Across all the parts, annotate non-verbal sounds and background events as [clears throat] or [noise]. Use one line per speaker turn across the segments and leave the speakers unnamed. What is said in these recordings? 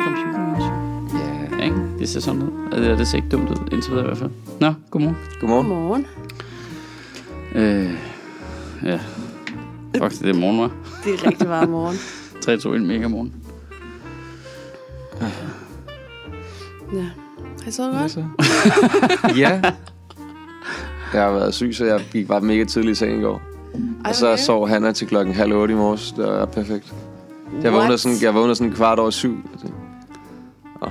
Information.
Ja.
Ikke? Det ser sådan ud. Eller det ser ikke dumt ud, indtil videre i hvert fald. Nå, godmorgen.
Godmorgen.
Godmorgen.
Øh, ja. Fuck, det er morgen, var.
Det er rigtig varm morgen.
3, 2, 1, mega morgen.
[laughs] Ja. Har I sovet godt?
Altså. ja. Jeg har været syg, så jeg gik bare mega tidlig i seng i går.
Ej,
Og så
okay.
sov Hanna til klokken halv otte i morges. Det var perfekt. Jeg vågnede
What?
sådan, jeg vågnede sådan kvart over syv. Jeg tænkte, Åh,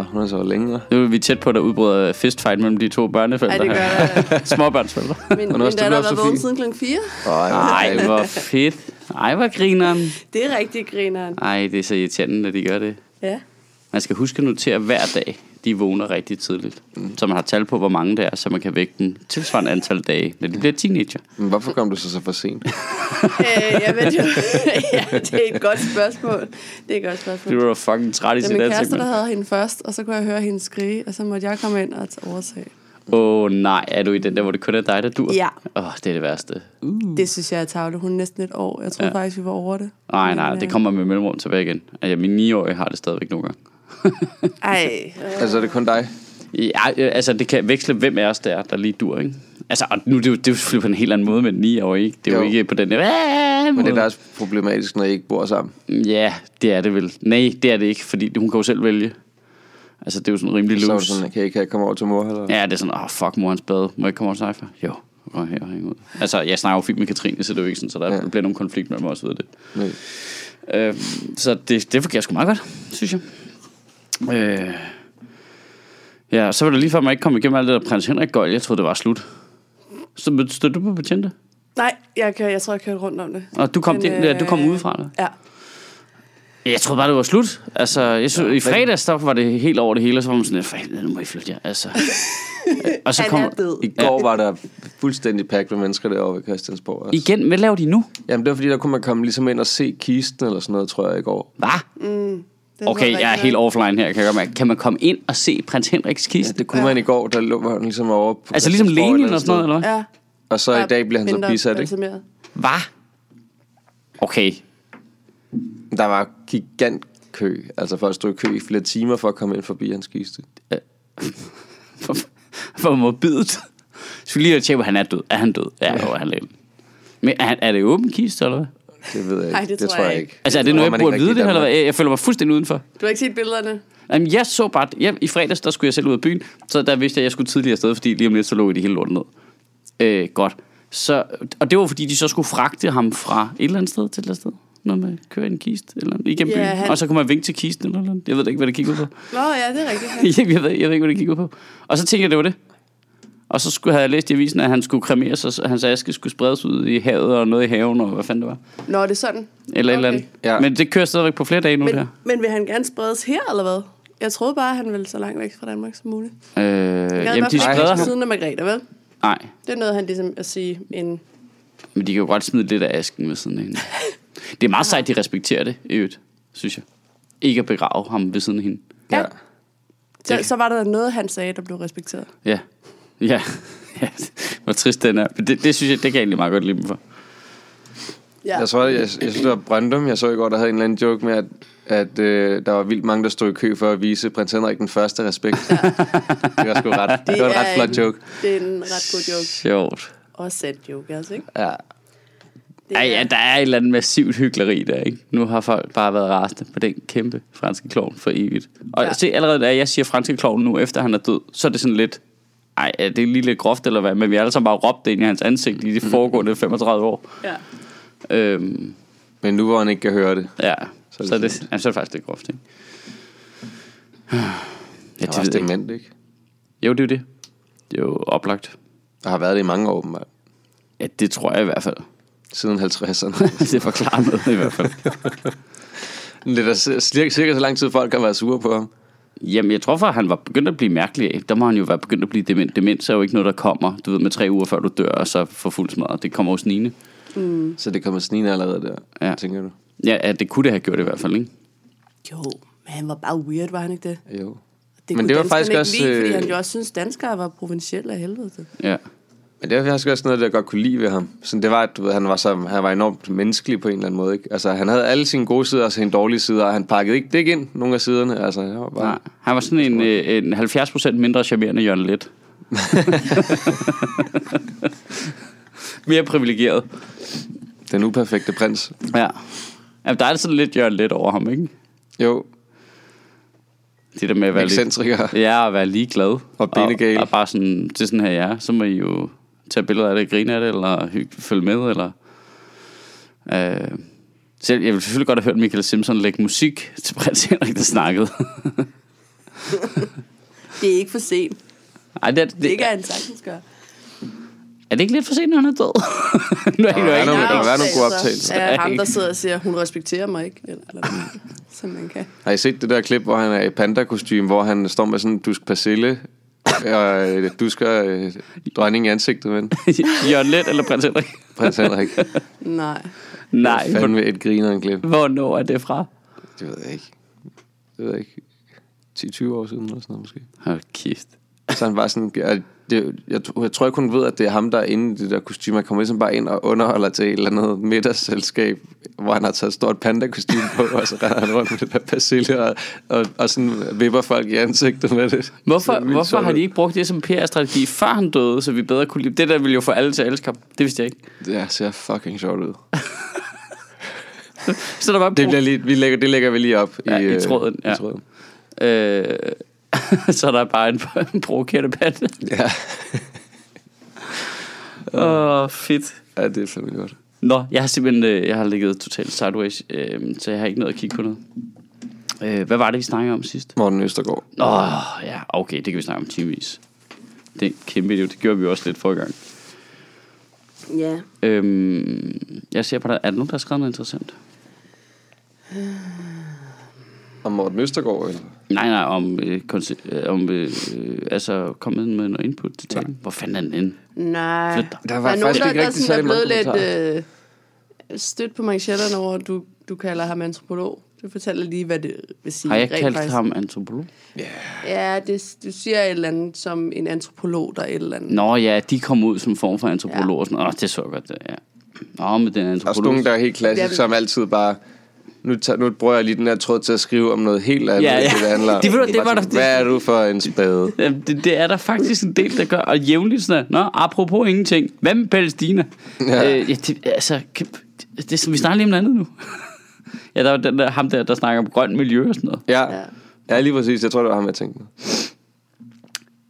oh, hun har sovet længere.
Nu er vi tæt på, at der udbryder fistfight mellem de to
Ej,
børnefælder.
det
[laughs]
gør jeg.
Småbørnsforældre.
Min,
Hvornår
min
stod
datter
du op,
har været vågen
Sofie?
siden klokken 4.
Ej,
Ej, hvor fedt. Ej, hvor grineren.
Det er rigtig grineren.
Ej, det er så irriterende, at de gør det.
Ja.
Man skal huske at notere hver dag, de vågner rigtig tidligt.
Mm.
Så man har tal på, hvor mange det er, så man kan vække dem tilsvarende antal dage, når de bliver teenager.
Men hvorfor kom du så så for sent?
Øh, jeg ved jo. [laughs] ja, det er et godt spørgsmål. Det er et godt spørgsmål.
Det var da fucking træt i
Det
sit
var min
ansigt.
kæreste, der
mand.
havde hende først, og så kunne jeg høre hende skrige, og så måtte jeg komme ind og t- overtage.
Åh oh, nej, er du i den der, hvor det kun er dig, der dur?
Ja.
Åh, oh, det er det værste. Hmm.
Det synes jeg er tavle. Hun er næsten et år. Jeg troede ja. faktisk, vi var over det.
Nej,
Men,
nej,
øh,
det kommer med mellemrum tilbage igen. Altså, min 9-årige har det stadigvæk nogle gange.
Ej, øh,
Altså, er det kun dig?
Ja, øh, altså det kan veksle, hvem af os der er, der lige dur, ikke? Altså, og nu det er jo, det er jo selvfølgelig på en helt anden måde med 9 år, ikke? Det er jo,
Jo.
ikke på den der... "Aah!"
Men det er
måde.
da også problematisk, når I ikke bor sammen.
Ja, det er det vel. Nej, det er det ikke, fordi hun kan jo selv vælge. Altså, det er jo sådan rimelig
Så er
loose.
det sådan, kan jeg, kan jeg komme over til mor? Eller?
Ja, det er sådan, åh, oh, fuck, mor hans bad. Må jeg ikke komme over til dig for? Jo, gå her og hænge ud. Altså, jeg snakker jo fint med Katrine, så det er jo ikke sådan, så der
Ja.
ja. bliver nogen konflikt mellem os, ved det.
Nej.
Øh, så det, det fungerer sgu meget godt, synes jeg. Øh, ja, og så var det lige før, man ikke kom igennem alt det der prins Henrik gøjl. Jeg troede, det var slut. Så stod du på betjente?
nej, jeg, kører, jeg tror, jeg kørte rundt om det.
Og du kom,
Men,
Men, øh... ja, du kom
øh,
udefra? Eller?
Ja.
Jeg troede bare, det var slut. Altså, jeg synes, i fredags, der var det helt over det hele, og så var man sådan, for helvede, nu må I flytte jer.
[laughs]
Altså. og så
Han
kom,
er død.
I går var der fuldstændig pakket med mennesker derovre ved Christiansborg. Også.
Igen, hvad laver de nu?
Jamen, det var fordi, der kunne man komme ligesom ind og se kisten eller sådan noget, tror jeg, i går.
Hvad?
Den
Mm, Okay,
var
jeg er
rigtig
helt
nok.
offline her. Kan, jeg godt mærke. kan man komme ind og se prins Henriks
Ja,
kiste?
det kunne man i går, der lå han ligesom over på
Altså ligesom
Christiansborg
Lenin
eller
og sådan noget, eller hvad?
Ja. altså.
Og så i dag bliver han så
mindre
bisat, ikke?
balsameret.
Hvad? Okay.
Der var gigant kø. Altså folk stod i kø i flere timer for at komme ind forbi hans kiste.
For, Øh. [laughs] for morbidt. Skal lige at tjekke, at han er død. Er han død? Ja, ja. han er det. Men er, han- er det åben kiste, eller hvad?
Det ved jeg ikke.
Ej, det tror jeg ikke.
Altså, er
tror
det noget, jeg
man
burde
ikke
vide det,
rigtig
her,
i
eller hvad? Jeg, jeg føler mig fuldstændig udenfor.
Du har ikke set billederne?
Jamen, jeg så bare... Jeg, I fredags, der skulle jeg selv ud af byen, så der vidste jeg, at jeg skulle tidligere afsted, fordi lige om lidt, så lå I det hele lortet ned. Øh, godt. Så, og det var, fordi de så skulle fragte ham fra et eller andet sted til et eller andet sted. Når man kører i en kiste eller andet, igennem
Ja,
byen.
han-
Og så kunne man vinke til kisten eller noget. Jeg ved da ikke, hvad det gik ud på.
Nå ja, det er rigtigt. Ja.
[laughs] jeg, ved, jeg ved ikke, hvad det gik ud på. Og så tænkte jeg, det var det. Og så skulle, havde jeg læst i avisen, at han skulle kremeres, og så- hans aske skulle spredes ud i havet og noget i haven, og hvad fanden det var.
Nå, det er sådan.
Eller okay. et eller andet.
Ja.
Ja. Men det kører stadigvæk på flere dage nu,
Men,
det her.
men vil han gerne spredes her, eller hvad? Jeg troede bare, at han ville så langt væk fra Danmark som muligt.
Øh,
Jeg
jamen,
havde
de
i hvert
spreder
fald ikke
ham.
siden af Margrethe, vel?
Nej,
Det er noget, han ligesom at sige en...
Men de kan jo godt smide lidt af asken ved siden af
[laughs]
hende. Det er meget sejt, de respekterer det, i øvrigt, synes jeg. Ikke at begrave ham ved siden af hende.
Ja.
Ja. Så, så var der noget, han sagde, der blev respekteret.
Ja. Ja. [laughs] ja. Hvor trist den er. Men det, det synes jeg, det kan jeg egentlig meget godt lide dem for.
Ja.
Jeg tror, jeg, jeg synes, det var Brøndum, jeg så i går, der havde en eller anden joke med, at, at øh, der var vildt mange, der stod i kø for at vise prins Henrik den første respekt. Ja. det var sgu ret. Det, det var en
er
ret flot
en-
joke.
Det er en ret god joke.
Sjovt.
Og sat joke, altså, ikke?
Ja.
Det
Ja, ja, der er et eller andet massivt hyggeleri der, ikke? Nu har folk bare været rasende på den kæmpe franske klovn for evigt. Og
Ja.
ja. se, allerede da jeg siger franske klovn nu, efter han er død, så er det sådan lidt... Ej, er det lige lidt groft eller hvad? Men vi har alle sammen bare råbt det ind i hans ansigt i de foregående 35 år.
ja.
Øhm,
Men nu hvor han ikke kan høre det.
Ja,
Så
så
er
er
det
det, så er det, jamen, så er det faktisk lidt [sighs] groft, ikke? Ja,
Jeg
det
var også
ved jeg ikke.
dement, ikke?
Jo, det er jo det. Det er jo oplagt.
Og har været det i mange år, åbenbart.
Ja, det tror jeg i hvert fald. [laughs]
Siden 50'erne.
det forklarer noget i hvert fald.
Lidt af, cirka, cirka så lang tid folk har været sure på ham.
Jamen, jeg tror for, at han var begyndt at blive mærkelig af. Der må han jo være begyndt at blive dement. Demens er jo ikke noget, der kommer, du ved, med tre uger før du dør, og så for fuld smadret. Det kommer jo snigende.
Så det kommer snigende allerede der, ja.
Ja.
tænker du?
Ja, ja, det kunne det have gjort i hvert fald, ikke?
Jo, men han var bare weird, var han ikke det?
Jo. Men
Det kunne
det var
danskerne
faktisk
ikke
også,
Lide, fordi
øh,
han jo også synes, danskere var provincielle af helvede.
Ja.
Men det var faktisk også noget, der jeg godt kunne lide ved ham. Sådan, det var, at du ved, han var, så, han var enormt menneskelig på en eller anden måde. Ikke? Altså, han havde alle sine gode sider og sine dårlige sider, og han pakkede ikke det ikke ind, nogle af siderne. Altså, jeg var bare...
Nej, han var sådan en, øh, en 70% mindre charmerende Jørgen Let. [laughs] Mere privilegeret.
Den uperfekte prins.
Ja. Jamen, der er sådan lidt Jørgen Let over ham, ikke?
Jo,
Det der med at være lidt...
ekscentriker.
Ja, at være ligeglad.
Og benegal.
Og, og bare sådan, det er sådan her, ja. Så må I jo tage billeder af det, grine af det, eller hygge, følge med, eller... Øh, selv, jeg ville selvfølgelig godt have hørt Michael Simpson lægge musik [laughs] til prins Henrik, der snakkede.
Det er ikke for sent.
Ej, det, er- det,
Det ikke er han sagtens gør.
er det ikke lidt for sent, når han er død? [laughs] nu er jeg
Der er
ikke
nogle-
noget.
der må være nogle gode optagelser.
optagelser. Ja, altså, ham, der
Ikke?
sidder og siger, hun respekterer mig ikke. Eller, eller, som man kan.
Har I set det der klip, hvor han er i panda-kostume, hvor han står med sådan en dusk persille, og øh, dusker øh, dronningen i ansigtet med den?
[laughs] Jørgen Let eller prins Henrik?
Prins [laughs] Henrik.
Nej.
Nej, hvor,
Fandme et griner klip.
hvornår er det fra?
Det ved jeg ikke. Det ved jeg ikke. 10-20 år siden eller sådan noget måske.
Hold kæft.
Så han bare sådan, jeg, det, jeg, tro- jeg tror ikke hun ved, at det er ham, der er inde i det der kostume. Han kommer ligesom bare ind og underholder til et eller andet middagsselskab, hvor han har taget et stort panda-kostume på, og så render han rundt med det der persille og, og, og sådan vipper folk i ansigtet med det.
Hvorfor,
Så vildt
hvorfor har
sjovt.
de ikke brugt det som PR-strategi, før han døde, så vi bedre kunne lide Det der ville jo få alle til at elske ham. Det vidste jeg ikke.
Det ser fucking sjovt ud.
Så der var
Det, bliver lige, vi lægger, det lægger vi lige op
Ja, i
øh,
tråden, ja.
I tråden.
øh, [laughs] så er der bare en, [laughs] en provokerende pande.
Ja. [laughs]
Åh, oh, fedt.
ja, det er fandme godt.
Nå, jeg har simpelthen øh, jeg har ligget totalt sideways, øh, så jeg har ikke noget at kigge på noget. Øh, hvad var det, vi snakkede om sidst?
Morten Østergaard.
Åh, oh, ja, okay, det kan vi snakke om timevis. Det er en kæmpe video, det gjorde vi også lidt forrige gang.
Ja.
Øhm, jeg ser på dig, er der nogen, der har skrevet noget interessant?
Og Morten Østergaard, eller?
Nej, nej, om, øh, konce- øh, om øh, øh, altså, kom med med noget input til talen. Hvor fanden er den inde?
Nej.
Flyt dig.
Der var
er
faktisk
der,
ikke
der
rigtig
sådan
særlig
er blevet
mange
lidt øh, stødt på manchetterne over, at du, du kalder ham antropolog. Du fortæller lige, hvad det vil sige.
Har jeg
rent
kaldt
faktisk.
ham antropolog?
Ja, det, du siger et eller andet som en antropolog, der er et eller andet.
Nå ja, de kom ud som form for antropolog.
Ja.
Ja. Sådan, Åh, det så jeg godt, det ja. Nå, men den
Der er også
antropolog.
nogen, der er helt
Ja,
klassisk,
det-
som altid bare... Nu, tager, nu bruger jeg lige den her tråd til at skrive om noget helt andet,
Ja,
ja,
ja.
ja. det, det handler om.
Det ved du, det
Bare
var
sådan,
der-
Hvad er du for en spade?
Jamen, det, det er der faktisk en del, der gør. Og jævnligt sådan, her, Nå, apropos ingenting. Hvad med Palæstina? Ja.
Ja.
Øh, ja, det, altså, kan- det, det, vi snakker lige om noget andet nu. [laughs] ja, der var den der, ham der, der snakker om grønt miljø og sådan noget.
Ja.
Ja.
ja. Ja, lige præcis. Jeg tror, det var ham, jeg tænkte. på.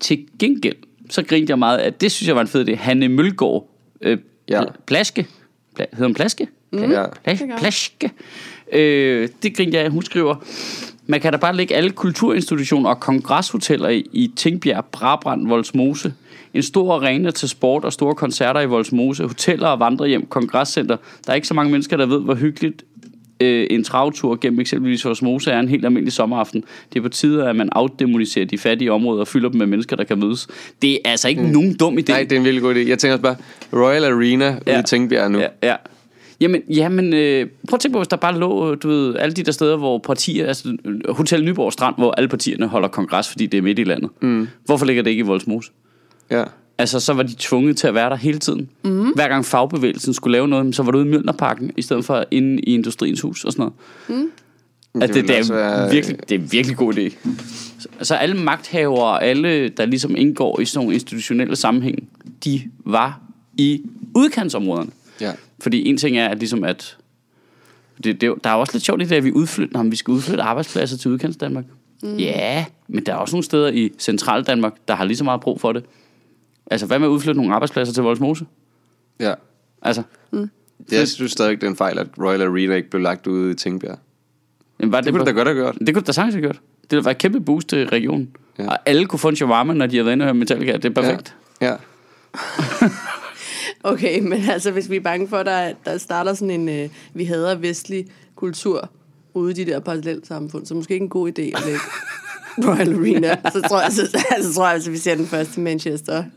Til gengæld, så grinte jeg meget af, det synes jeg var en fed idé, Hanne Mølgaard. Øh, ja.
Ja.
Plaske. Pla, hedder hun Plaske? Mm.
Ja.
det gør
Plas,
hun.
plaske. Øh, det grinte jeg af, hun skriver, man kan da bare lægge alle kulturinstitutioner og kongreshoteller i, i Tingbjerg, Brabrand, Voldsmose. En stor arena til sport og store koncerter i Voldsmose, hoteller og vandrehjem, kongresscenter. Der er ikke så mange mennesker, der ved, hvor hyggeligt øh, en travtur gennem eksempelvis Voldsmose er en helt almindelig sommeraften. Det er på tide, at man afdemoniserer de fattige områder og fylder dem med mennesker, der kan mødes. Det er altså ikke mm. nogen dum idé.
Nej, det er en virkelig god idé. Jeg tænker også bare, Royal Arena ja.
Ja.
ude i Tingbjerg nu.
Ja,
Ja.
ja. Jamen, jamen øh, prøv at tænke på, hvis der bare lå, øh, du ved, alle de der steder, hvor partier, altså øh, Hotel Nyborg Strand, hvor alle partierne holder kongres, fordi det er midt i landet. Mm. Hvorfor ligger det ikke i Voldsmose?
ja.
Altså, så var de tvunget til at være der hele tiden. Mm. Hver gang fagbevægelsen skulle lave noget, jamen, så var du ude i Mjølnerparken, i stedet for inde i Industriens Hus og sådan noget. Mm. Altså, det,
ville
det, er
også være-
virkelig, det er en virkelig god idé. Så, så alle magthavere, alle, der ligesom indgår i sådan nogle institutionelle sammenhæng, de var i udkantsområderne.
ja.
Fordi en ting er, at, ligesom at det, det, er jo- der er jo også lidt sjovt i det, at vi udflytter ham. Vi skal udflytte arbejdspladser til udkants Danmark. Mm. Ja, men der er også nogle steder i central Danmark, der har lige så meget brug for det. Altså, hvad med at udflytte nogle arbejdspladser til Voldsmose?
ja.
Altså,
Jeg synes stadig, det er en fejl, at Royal Arena ikke blev lagt ude i Tingbjerg.
jamen, var det,
Det kunne du da godt have gjort.
Det kunne du da sagtens have gjort. Det ville være et kæmpe boost til regionen. Ja.
Ja.
Og alle kunne få en shawarma, når de har været inde og hørt Metallica. Det er perfekt.
Ja. ja.
Okay, [laughs] men altså, hvis vi er bange for, at der, der starter sådan en, øh, vi hader vestlig kultur ude i de der parallelsamfund, så måske ikke en god idé at [laughs] lægge Royal Arena. Så tror jeg, så, [laughs] altså, tror jeg altså, vi ser den første Manchester. [laughs]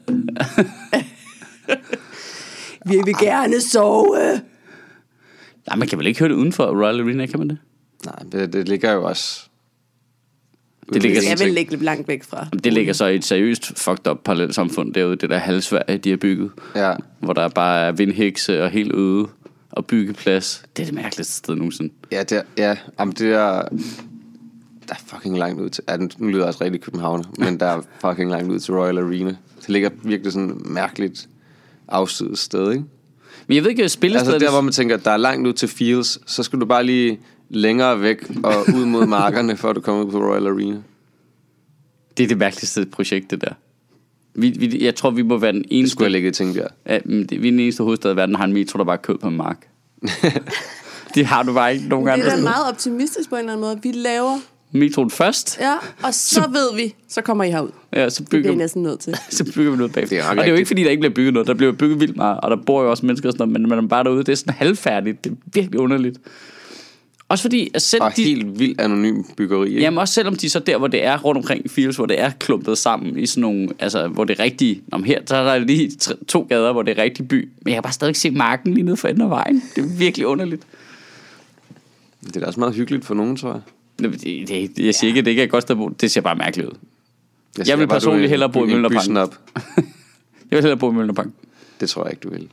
vi vil gerne sove.
Ja. Nej, man kan vel ikke høre det uden for Royal Arena, kan man det?
Nej, det, det ligger jo også...
Det ligger,
Det
sådan,
er vel
ting.
ligge lidt langt væk fra.
det ligger så i et seriøst fucked up parallelt samfund derude, det der halvsværge, de har bygget.
Ja.
Hvor der bare er vindhekse og helt øde og byggeplads. Det er det mærkeligste sted nogensinde.
Ja, det er, ja. Jamen, det er... Der er fucking langt ud til... Ja, den- nu lyder jeg også rigtig københavner, men der er fucking langt ud til Royal Arena. Det ligger virkelig sådan mærkeligt afsides sted, ikke?
Men jeg ved ikke, spillestedet...
Altså der, hvor man tænker, der er langt ud til Fields, så skal du bare lige længere væk og ud mod markerne, før du kommer ud på Royal Arena.
Det er det mærkeligste projekt, det der. Vi, vi, jeg tror, vi må være den eneste...
Skulle jeg ligge i Tingbjerg.
Ja, men det, vi er den eneste hovedstad i verden, der har en metro, der bare kører på en
[laughs]
mark. det har du bare ikke nogen
Det
gange.
er da meget optimistisk på en eller anden måde. Vi laver,
Metroen først,
ja, og så ved vi, så kommer I herud.
ja, så,
Det er
bygger,
jeg næsten nødt til.
så bygger vi noget bagefter.
Det er
Det
nok
og det er jo
rigtigt.
ikke, fordi der ikke bliver bygget noget. Der bliver bygget vildt meget, og der bor jo også mennesker og sådan noget, men man er bare derude. Det er sådan halvfærdigt. Det er virkelig underligt. Også fordi, at selv
Og
de,
helt vildt anonym byggeri. Ikke?
Jamen også selvom de så der, hvor det er rundt omkring i Fields, hvor det er klumpet sammen i sådan nogle, altså hvor det er rigtige, om her, så er der lige tre- to gader, hvor det er rigtig by, men jeg kan bare stadig se marken lige nede for enden af vejen. Det er virkelig underligt.
Det er da også meget hyggeligt for nogen, tror jeg.
Nå, men Det, det, jeg siger ikke, at det ikke er et godt sted at bo. Det ser bare mærkeligt ud.
siger
Jeg vil
bare, du er
personligt
en-
hellere bo i
en
Mjølnerparken.
bysnap.
[laughs] Jeg vil hellere bo i Mølnerbank.
Det tror jeg ikke, du vil.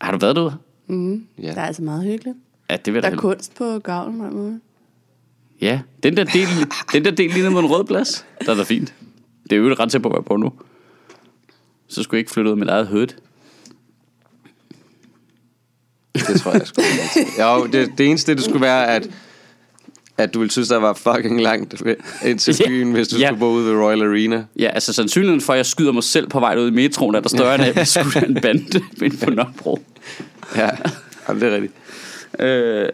Har du været derude?
Ja.
Der er altså meget hyggeligt.
Ja, det vil jeg
Der
da
er
hellere.
kunst på gavlen, på en måde.
Ja, den der del, den der del ligner mod en rød plads. Der er da fint. Det er jo ret til på, hvor jeg bor nu. Så skulle jeg ikke flytte ud af mit eget hød.
Det tror jeg sgu ikke. Jo, det, det eneste, det skulle være, at, at du ville synes, der var fucking langt væ- ind til
Ja.
byen, hvis du
Ja.
skulle bo ude ved Royal Arena.
Ja, altså sandsynligheden for, at jeg skyder mig selv på vej ud i metroen, er der større, end at jeg bliver skudt af en bande [laughs] ind på Nørrebro.
Ja, Jamen, det er rigtigt.
Øh.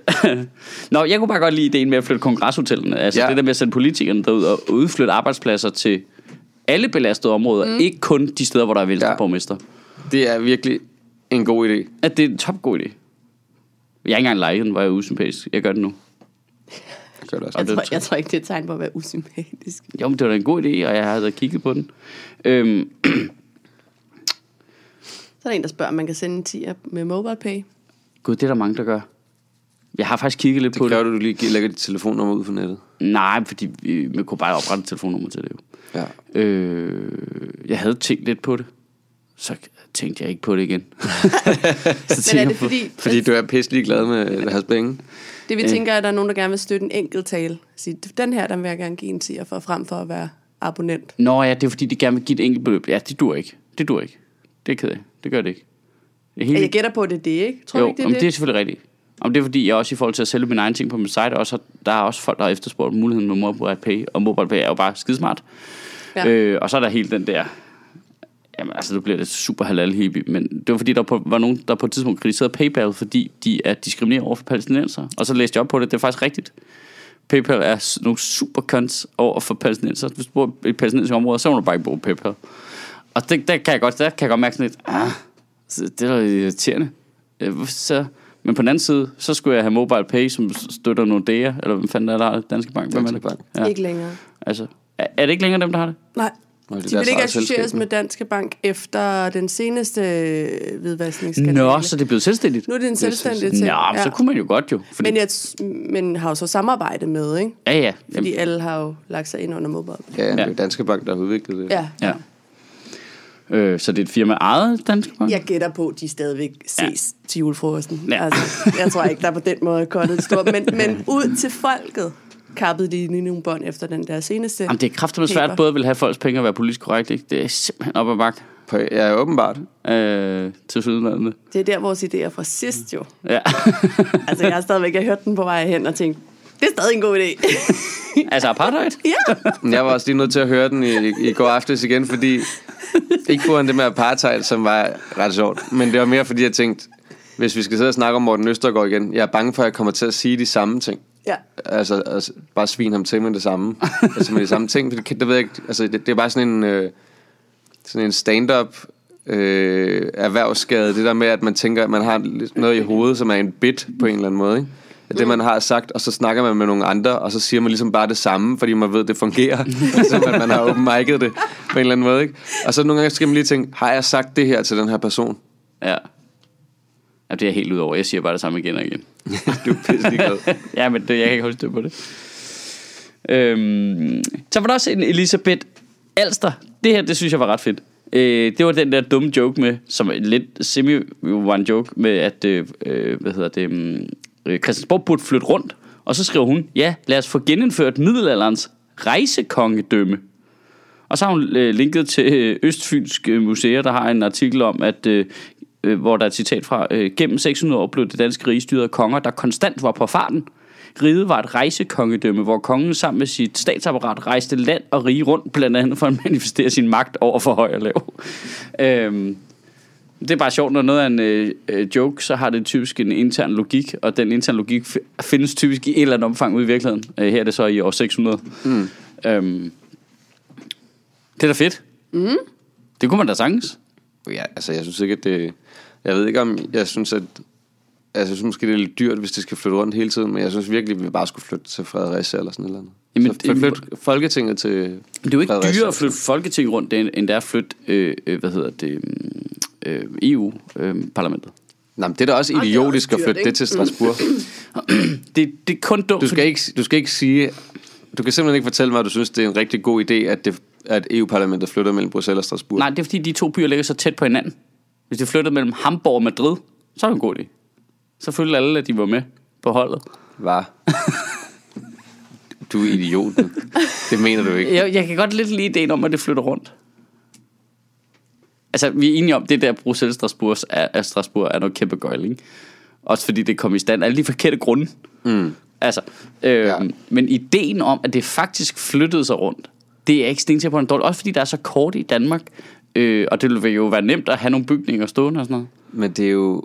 Nå, jeg kunne bare godt lide ideen med at flytte kongreshotellene. Altså ja.
Ja.
det der med at sende politikerne derud og udflytte arbejdspladser til alle belastede områder. Mm. Ikke kun de steder, hvor der er væltet ja.
Ja.
borgmester.
Det er virkelig en god idé.
At det er en topgod idé. Jeg har ikke engang lejet den, var jeg usympatisk. Jeg gør det nu.
Det gør det også.
Jeg
det
tror,
tror-
jeg tror ikke, det er et tegn på at være usympatisk.
Jo, men det var da en god idé, og jeg havde da kigget på den. Øhm, [clears throat]
Så er der en, der spørger, om man kan sende en 10 med [laughs] MobilePay.
gud, det er der mange, der gør. Jeg har faktisk kigget lidt på
Det gør du, du lige gi- lægger dit telefonnummer ud på nettet.
Nej, fordi vi, man kunne bare oprette et telefonnummer til det jo.
Ja.
Øh, jeg havde tænkt lidt på det. Så tænkte jeg ikke på det igen. [laughs] så
Men er
tænker
det
jeg på-
fordi,
Fordi du er pisselig glad med deres penge.
det vi tænker, er, at der er nogen, der gerne vil støtte en enkelt tale. Sige, den her, den vil jeg gerne give en 10 for, frem for at være abonnent.
Nå ja, det er fordi, de gerne vil give et enkelt beløb. Ja, det dur ikke. Det dur ikke. Det er jeg ked af. Det gør det ikke. Det er
Ja,
Hele...
Jeg gætter på, at det er det, ikke? Tror du
jo,
ikke,
om
det er
det er
det?
selvfølgelig rigtigt. Om det er fordi, jeg også i forhold til at sælge mine egne ting på min site, også har, der er også folk, der har efterspurgt muligheden med MobilePay, og MobilePay er jo bare skidesmart. Ja.
Ja.
Øh, og så er der helt den der, jamen altså nu bliver det super halal hippie, men det var fordi, der på, var nogen, der på et tidspunkt kritiserede PayPal, fordi de er diskriminerende over for palæstinenser. Og så læste jeg op på det, det er faktisk rigtigt. PayPal er s- nogle super cons over for palæstinenser. Hvis du bor i et palæstinensisk område, så må du bare ikke bruge PayPal. Og det, der, kan jeg godt, der kan jeg godt mærke sådan lidt, ah, så det er da irriterende. Øh, hvorfor Så, men på den anden side, så skulle jeg have Mobile Pay, som støtter Nordea, eller hvem fanden er der, Danske Bank? Hvem er
Danske
det?
Bank.
Ja,
Ikke længere.
altså, er, er det ikke længere dem, der har det?
øh, Nej.
Nå, det er
De
deres
vil ikke
eget
associeres
selskab,
med Danske Bank efter den seneste øh, hvidvaskningsskandale.
Nå, så det er blevet selvstændigt.
Nu er det en selvstændig ting.
Nå, ja. så kunne man jo godt jo. Fordi,
Men, jeg, t- men har jo så samarbejde med, ikke?
ja, ja.
Fordi
Jamen,
alle har jo lagt sig ind under mobile.
Ja, ja, det er jo Danske Bank, der har udviklet det.
Ja.
ja. Øh, så det er et firma ejet af Danske Bank?
Jeg gætter på, at de stadigvæk ses ja. til julefrokosten.
Ja.
Ja. Altså, jeg tror ikke, der på den måde er kottet stort. Men, men ud til folket kappede de lige nogle bånd efter den der seneste.
Jamen, det er kraftigt svært
Paper.
både at vil have folks penge og være politisk korrekt. Ikke? Det er simpelthen op ad bakke
På, ja, åbenbart.
øh, til sydlandet.
Det er der, vores idé er fra sidst jo.
Ja. [laughs]
Altså, jeg har stadigvæk jeg hørte den på vej hen og tænkt, det er stadig en god idé. [laughs]
altså apartheid?
ja,
Men Jeg var også lige nødt til at høre den i, i går aftes igen, fordi ikke på det med apartheid, som var ret sjovt, men det var mere fordi, jeg tænkte, hvis vi skal sidde og snakke om Morten Østergaard igen, jeg er bange for, at jeg kommer til at sige de samme ting.
Ja.
Altså, altså bare svine ham til med det samme. altså med de samme ting, for det, kan- det ved jeg ikke, altså det, det er bare sådan en, øh, sådan en stand-up øh, erhvervsskade, det der med, at man tænker, at man har lidt noget i hovedet, som er en bit på en eller anden måde, ikke? At Det, man har sagt, og så snakker man med nogle andre, og så siger man ligesom bare det samme, fordi man ved, det fungerer. ligesom at man har open mic'et det på en eller anden måde, ikke? Og så nogle gange skal man lige tænke, har jeg sagt det her til den her person?
Ja. ja. det er jeg helt ud over. Jeg siger bare det samme igen og igen. [laughs]
du er pisselig glad.
ja, men det, jeg kan ikke holde styr på det. Øhm, så var der også en Elisabeth Alster. Det her, det synes jeg var ret fedt. Øh, det var den der dumme joke med, som en lidt semi var en joke med, at øh, øh, hvad hedder det, mm, øh, Christiansborg burde flytte rundt. Og så skrev hun, ja, lad os få genindført middelalderens rejsekongedømme. Og så har hun øh, linket til øh, Østfynsk øh, Museer, der har en artikel om, at øh, øh, hvor der er et citat fra, øh, gennem 600 år blev det danske rige styret af konger, der konstant var på farten. Riget var et rejsekongedømme, hvor kongen sammen med sit statsapparat rejste land og rige rundt, blandt andet for at manifestere sin magt over for høj og lav. øhm, det er bare sjovt, når noget er en øh, øh, joke, så har det typisk en intern logik, og den interne logik f- findes typisk i et eller andet omfang ude i virkeligheden. Øh, her er det så i år 600. Mm. Øhm, det er da fedt. Mm. Det kunne man da sagtens.
Ja, altså jeg synes ikke, at det... Jeg ved ikke om... Jeg synes, at... Altså jeg synes måske, det er lidt dyrt, hvis det skal flytte rundt hele tiden, men jeg synes virkelig, at vi bare skulle flytte til Fredericia eller sådan et eller andet.
Jamen,
Jamen, så
det-
flyt Folketinget til
Det er jo ikke
Fredericia.
dyrere at flytte Folketinget rundt, end end det er at flytte, øh, øh, hvad hedder det, mm, øh, EU-parlamentet.
Nej, men det er da også
Ej, det er
idiotisk
også
at
dyrt,
flytte
ikke?
det til Strasbourg.
det, det er kun dumt,
Du skal, ikke, du skal ikke sige... Du kan simpelthen ikke fortælle mig, at du synes, det er en rigtig god idé, at, det, at EU-parlamentet flytter mellem Bruxelles og Strasbourg.
Nej, det er fordi, de to byer ligger så tæt på hinanden. Hvis det flyttede mellem Hamburg og Madrid, så er det en god idé. Så følte alle, at de var med på holdet. [laughs]
Var. Du er idioten. Det mener du
[laughs]
ikke.
Jeg, jeg kan godt lidt lide ideen om, at det flytter rundt. Altså, vi er enige om, det der Bruxelles Strasbourg er, er, Strasbourg er noget kæmpe gøjl, ikke? Også fordi det kom i stand. af Alle de forkerte grunde. Mm. Altså, øh, ja.
Ja.
Men ideen om, at det faktisk flyttede sig rundt, det er ikke stensikker på en dårlig. Også fordi der er så kort i Danmark. Øh, og det ville jo være nemt at have nogle bygninger stående og sådan noget.
Men det er jo...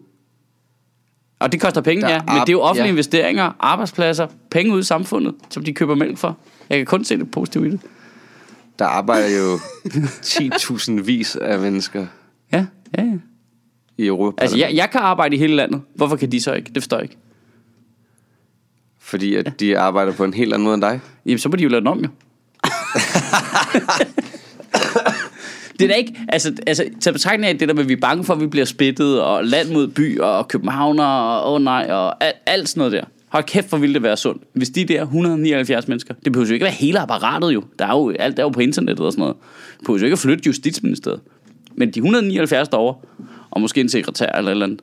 Og det koster penge,
Der
ja.
er
Men det er jo
ar-
offentlige ja.
ja.
investeringer, arbejdspladser, penge ud i samfundet, som de køber mælk for. Jeg kan kun se det positive i det.
Der arbejder jo 10.000 vis af mennesker
Ja, ja, ja.
i Europa.
Altså, jeg, jeg kan arbejde i hele landet. Hvorfor kan de så ikke? Det forstår jeg ikke.
Fordi at de arbejder på en helt anden måde end dig.
Jamen, så må de jo lave den om, jo. det er da ikke... Altså, altså til betragtning af det der med, at vi er bange for, at vi bliver splittet, og land mod by, og københavner, og åh oh nej, og alt, alt sådan noget der. Hold kæft, hvor ville det være sundt. Hvis de der 179 mennesker, det behøver jo ikke være hele apparatet jo. Der er jo alt er jo på internettet og sådan noget. Det behøver jo ikke at flytte Justitsministeriet. Men de 179 derovre, og måske en sekretær eller et eller andet,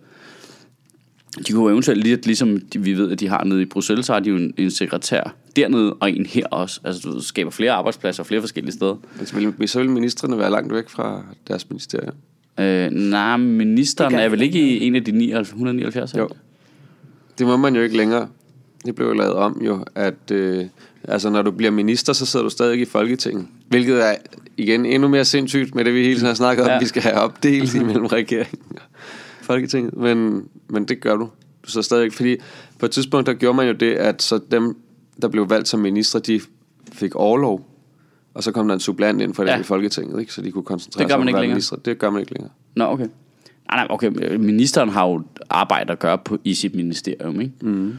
De kunne jo eventuelt lidt, ligesom de- vi ved, at de har nede i Bruxelles, så har de jo en, en sekretær dernede og en her også. Altså, du ved, skaber flere arbejdspladser flere forskellige steder.
Men så Altså, vil, så vil ministerne være langt væk fra deres ministerium.
Øh, nej, ministeren
Det gør
er vel ikke i en af de 79, 179? er han?
Jo. Det må man jo ikke længere. Det blev jo lavet om jo, at øh, altså, når du bliver minister, så sidder du stadig i Folketinget. Hvilket er igen endnu mere sindssygt med det, vi hele tiden har snakket om,
Ja.
ja. vi skal have opdelt imellem regeringen og Folketinget. Men, men det gør du. Du sidder stadig fordi på et tidspunkt, der gjorde man jo det, at så dem, der blev valgt som minister, de fik overlov. Og så kom der en supplant ind for det
Ja.
ja. i Folketinget, ikke? så de kunne koncentrere
Det gør
sig
man
om
ikke
at være
længere.
minister. Det gør man ikke længere.
Nå, okay. Ah, Nej, nej, okay. øh, Ministeren har jo arbejde at gøre på, i sit ministerium, ikke? Mm.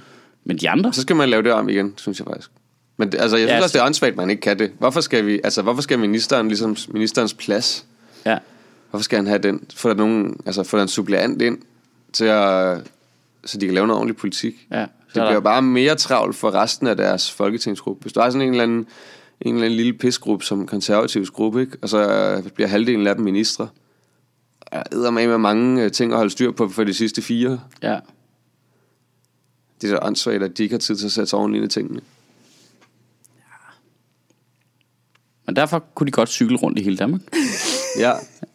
Men de andre?
Så skal man lave det om igen, synes jeg faktisk. Men det, altså, jeg synes
Ja,
også, det er åndssvagt, at man ikke kan det. Hvorfor skal, vi, altså, hvorfor skal ministeren, ligesom ministerens plads,
Ja.
hvorfor skal han have den? Få der, nogen, altså, få der en suppleant ind, til at, så de kan lave noget ordentlig politik.
Ja, så
det
er der-
bliver bare mere travlt for resten af deres folketingsgruppe. Hvis du har sådan en eller anden, en eller anden lille pisgruppe som konservativs gruppe, ikke? og så øh, bliver halvdelen af dem ministre, der med med mange øh, ting at holde styr på for de sidste fire.
Ja.
Det er da åndssvagt, at de ikke har tid til at sætte sig ordentligt ind i tingene.
Men derfor kunne de godt cykle rundt i hele Danmark.
Ja.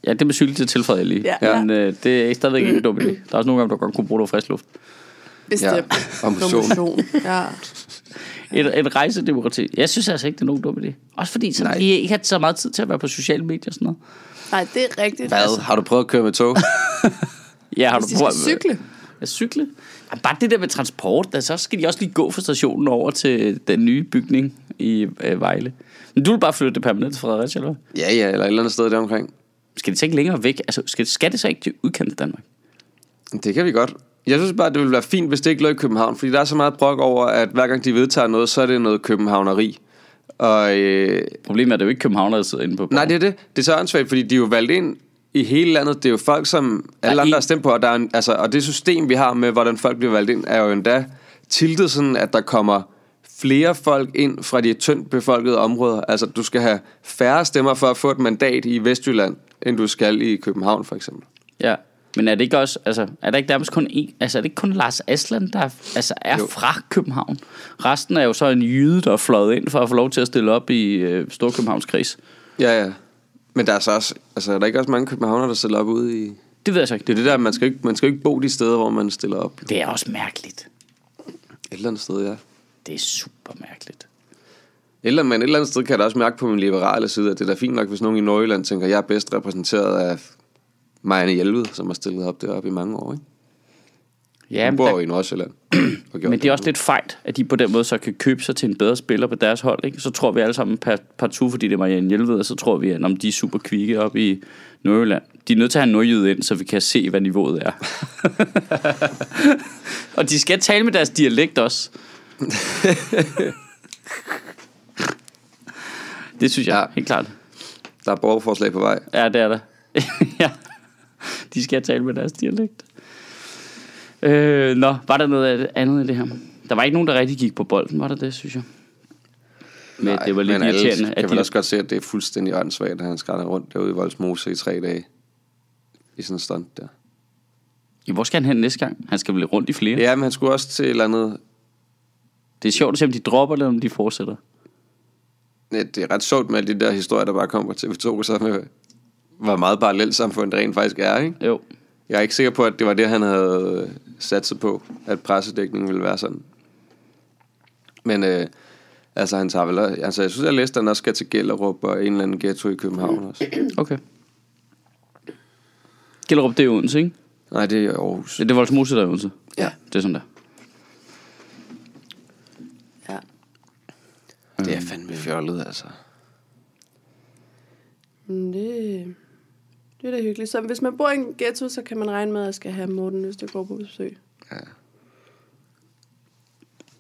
Ja, det med cykel, det tilføjede jeg lige.
Ja. Ja.
Men øh, det er stadigvæk ikke en dum idé. Der er også nogle gange, du godt kunne bruge noget frisk luft.
Bestemt.
Og motion.
motion. Ja.
Et, et rejsedemokrati. Jeg synes altså ikke, det er nogen dum idé. Også fordi så
Nej.
I ikke har så meget tid til at være på sociale medier og sådan noget.
Nej, det er rigtigt.
Hvad? Har du prøvet at køre med tog?
Ja, har
Hvis de
prøvet-
skal cykle.
Ja, cykle. Ja, bare det der med transport, altså, så skal de også lige gå fra stationen over til den nye bygning i øh, Vejle. Men du vil bare flytte det permanent til Fredericia, eller hvad?
[laughs] ja, ja, eller et eller andet sted deromkring.
Skal det så ikke længere væk? Altså, skal, skal det så ikke til udkant af Danmark?
Det kan vi godt. Jeg synes bare, det ville være fint, hvis det ikke lå i København, fordi der er så meget brok over, at hver gang de vedtager noget, så er det noget københavneri. Og, øh,
Problemet er, at det er jo ikke københavnere, der sidder inde på
nej, det er det. Det er så åndssvagt, fordi de er jo valgt ind i hele landet. Det er jo folk, som alle
Der er
andre
en-
har stemt på, og, der er en, altså, og det system, vi har med, hvordan folk bliver valgt ind, er jo endda tiltet sådan, at der kommer flere folk ind fra de tyndt befolkede områder. Altså, du skal have færre stemmer for at få et mandat i Vestjylland, end du skal i København, for eksempel.
Ja. Men er det ikke også, altså, er der ikke nærmest kun en, altså, er det ikke kun Lars Asland, der er, altså, er
Jo.
fra København? Resten er jo så en jyde, der er fløjet ind for at få lov til at stille op i øh, Storkøbenhavns kreds.
Ja, ja. Men der er så også, altså, er der ikke også mange københavnere, der stiller op ude i...
Det ved jeg så ikke.
Det er det der, man skal ikke, man skal ikke bo de steder, hvor man stiller op.
Det er også mærkeligt.
Et eller andet sted, ja. Et
Det er super mærkeligt.
eller, men et eller andet sted kan jeg da også mærke på min liberale side, at det er da fint nok, hvis nogen i Nordjylland tænker, at jeg er bedst repræsenteret af Marianne Hjelved, som har stillet op deroppe i mange år, ikke?
Ja,
Hun
men,
bor jo
der,
i Nordsjælland.
[clears throat]
og gjort
men det er også lidt fejt, at de på den måde så kan købe sig til en bedre spiller på deres hold. Ikke? Så tror vi alle sammen par, partout, fordi det er Marianne Hjelved, og så tror vi, at om de er super kvikke op i Nordjylland. De er nødt til at have en nordjyde ind, så vi kan se, hvad niveauet [laughs] er. og de skal tale med deres dialekt [laughs] også. det synes jeg,
Ja.
ja. helt klart.
Der er borgerforslag på vej.
Ja, det [laughs] er der. ja. De skal tale med deres dialekt. Øh, nå, var der noget andet i det her? Der var ikke nogen, der rigtig gik på bolden, var der det, synes jeg? Men Nej, det var lidt
men alle
irriterende,
kan
at
vel
de...
også godt se, at det er fuldstændig åndssvagt, at han skrætter rundt derude i Voldsmose i tre dage. I sådan en stunt der.
Ja, Hvor skal han hen næste gang? Han skal vel rundt i flere? Ja.
Ja, men han skulle også til et eller andet...
Det er sjovt at se, om de dropper, eller om de fortsætter.
Ja, det er ret sjovt med alle de der historier, der bare kommer på TV2, så med, hvor meget parallelt samfundet rent faktisk er, ikke?
Jo.
Jeg er ikke sikker på, at det var det, han havde øh, sat sig på, at pressedækningen ville være sådan. Men øh, altså, han tager vel... også- Altså, jeg synes, jeg læste, at han også skal til Gellerup og en eller anden ghetto i København også.
Okay. Gellerup, det er Odense, ikke?
Nej, det er Aarhus.
Det det er Voldsmose, der er Odense.
Ja.
Det er sådan der.
Ja.
Det er fandme fjollet, altså.
Men det, det er da hyggeligt. Så hvis man bor i en ghetto, så kan man regne med, at jeg skal have Morten Østergaard på besøg.
Ja.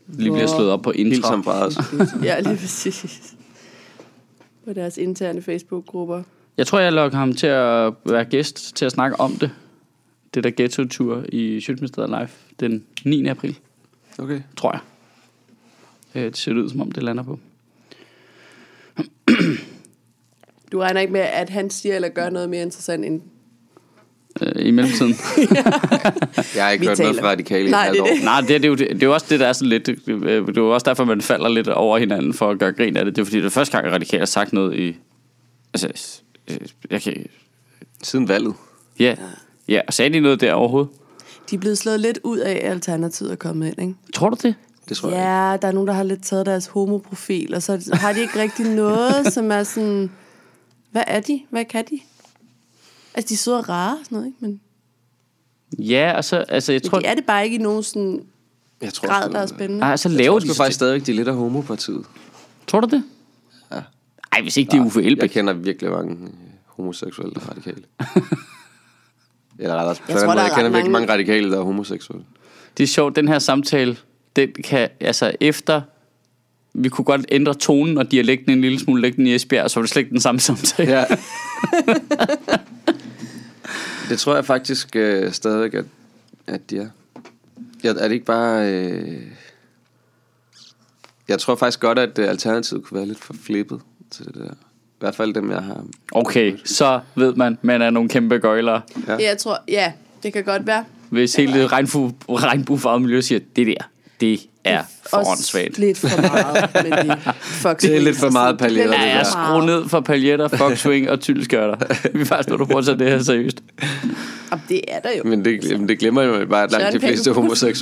Lige bliver slået op på
Helt
intro.
som brædder.
[laughs] ja, lige præcis. På deres interne Facebook-grupper.
Jeg tror, jeg lokker ham til at være gæst til at snakke om det. Det der ghetto-tur i Sjøtministeriet Live den 9. april,
[laughs] Okay.
tror jeg. Øh, Det ser ud, som om det lander på.
Du regner ikke med, at han siger eller gør noget mere interessant end...
Øh, I
[laughs]
mellemtiden.
Jeg har ikke
Vi
hørt noget
taler.
fra radikale i
Nej,
et
det er
halvt år.
Nej, det, er- det, er jo, det, det er jo også det, der er sådan lidt... øh, Det er jo også derfor, man falder lidt over hinanden for at gøre grin af det. Det er fordi, det er første gang, at radikale har sagt noget i... Altså, øh, jeg kan...
Siden valget.
Ja, ja. sagde de noget der overhovedet?
De er blevet slået lidt ud af, at Alternativet er kommet ind, ikke?
Tror du det?
Det tror jeg
Ja, der er nogen, der har lidt taget deres homoprofil, og så har de ikke rigtig [laughs] noget, som er sådan... Hvad er de? Hvad kan de? Altså, de er søde og rare og sådan noget, ikke? Men,
Ja, og så... Altså, jeg tror...
men de er det bare ikke i nogen sådan
ikke. Jeg tror,
grad,
sgu-
der er spændende.
Nej, så
Jeg
laver de...
tror sgu faktisk stadigvæk, de er lidt af homopartiet.
Tror du det?
Ja.
Ej, hvis ikke det er Uffe
Jeg
Elbæk.
kender virkelig mange øh, homoseksuelle der er [laughs] radikale. Eller rettere, på
tror,
den måde,
der er
jeg kender virkelig
ret mange-
mange radikale, der er homoseksuelle.
Det er sjovt, den her samtale, den kan, altså efter, vi kunne godt ændre tonen og dialekten en lille smule, lægge den i Esbjerg, så var det slet ikke den samme [laughs] samtale.
[laughs]
Ja.
Ja. det tror jeg faktisk øh, stadigvæk, at, at de er. Jeg, er det ikke bare... Øh... Jeg tror faktisk godt, at øh, alternativet kunne være lidt for flippet til det der. I hvert fald dem, jeg har.
Okay, så ved man, man er nogle kæmpe gøjlere,
Ja.
Ja. Jeg tror, ja, det kan godt være.
hvis hele det regnbu, regnbuefarvede miljø siger, det der, det er for åndssvagt.
lidt for meget med de
[laughs]
fuck Altså,
Det er lidt for meget paljetter,
Der
det
er skru ned for paljetter, foxwing og tyldskørter. Vi er faktisk nødt til at prøve at tage det her seriøst.
Jamen, det er der jo.
Men det, men det glemmer jeg bare, at langt de
Søren Pape
fleste
Poulsen.
[laughs]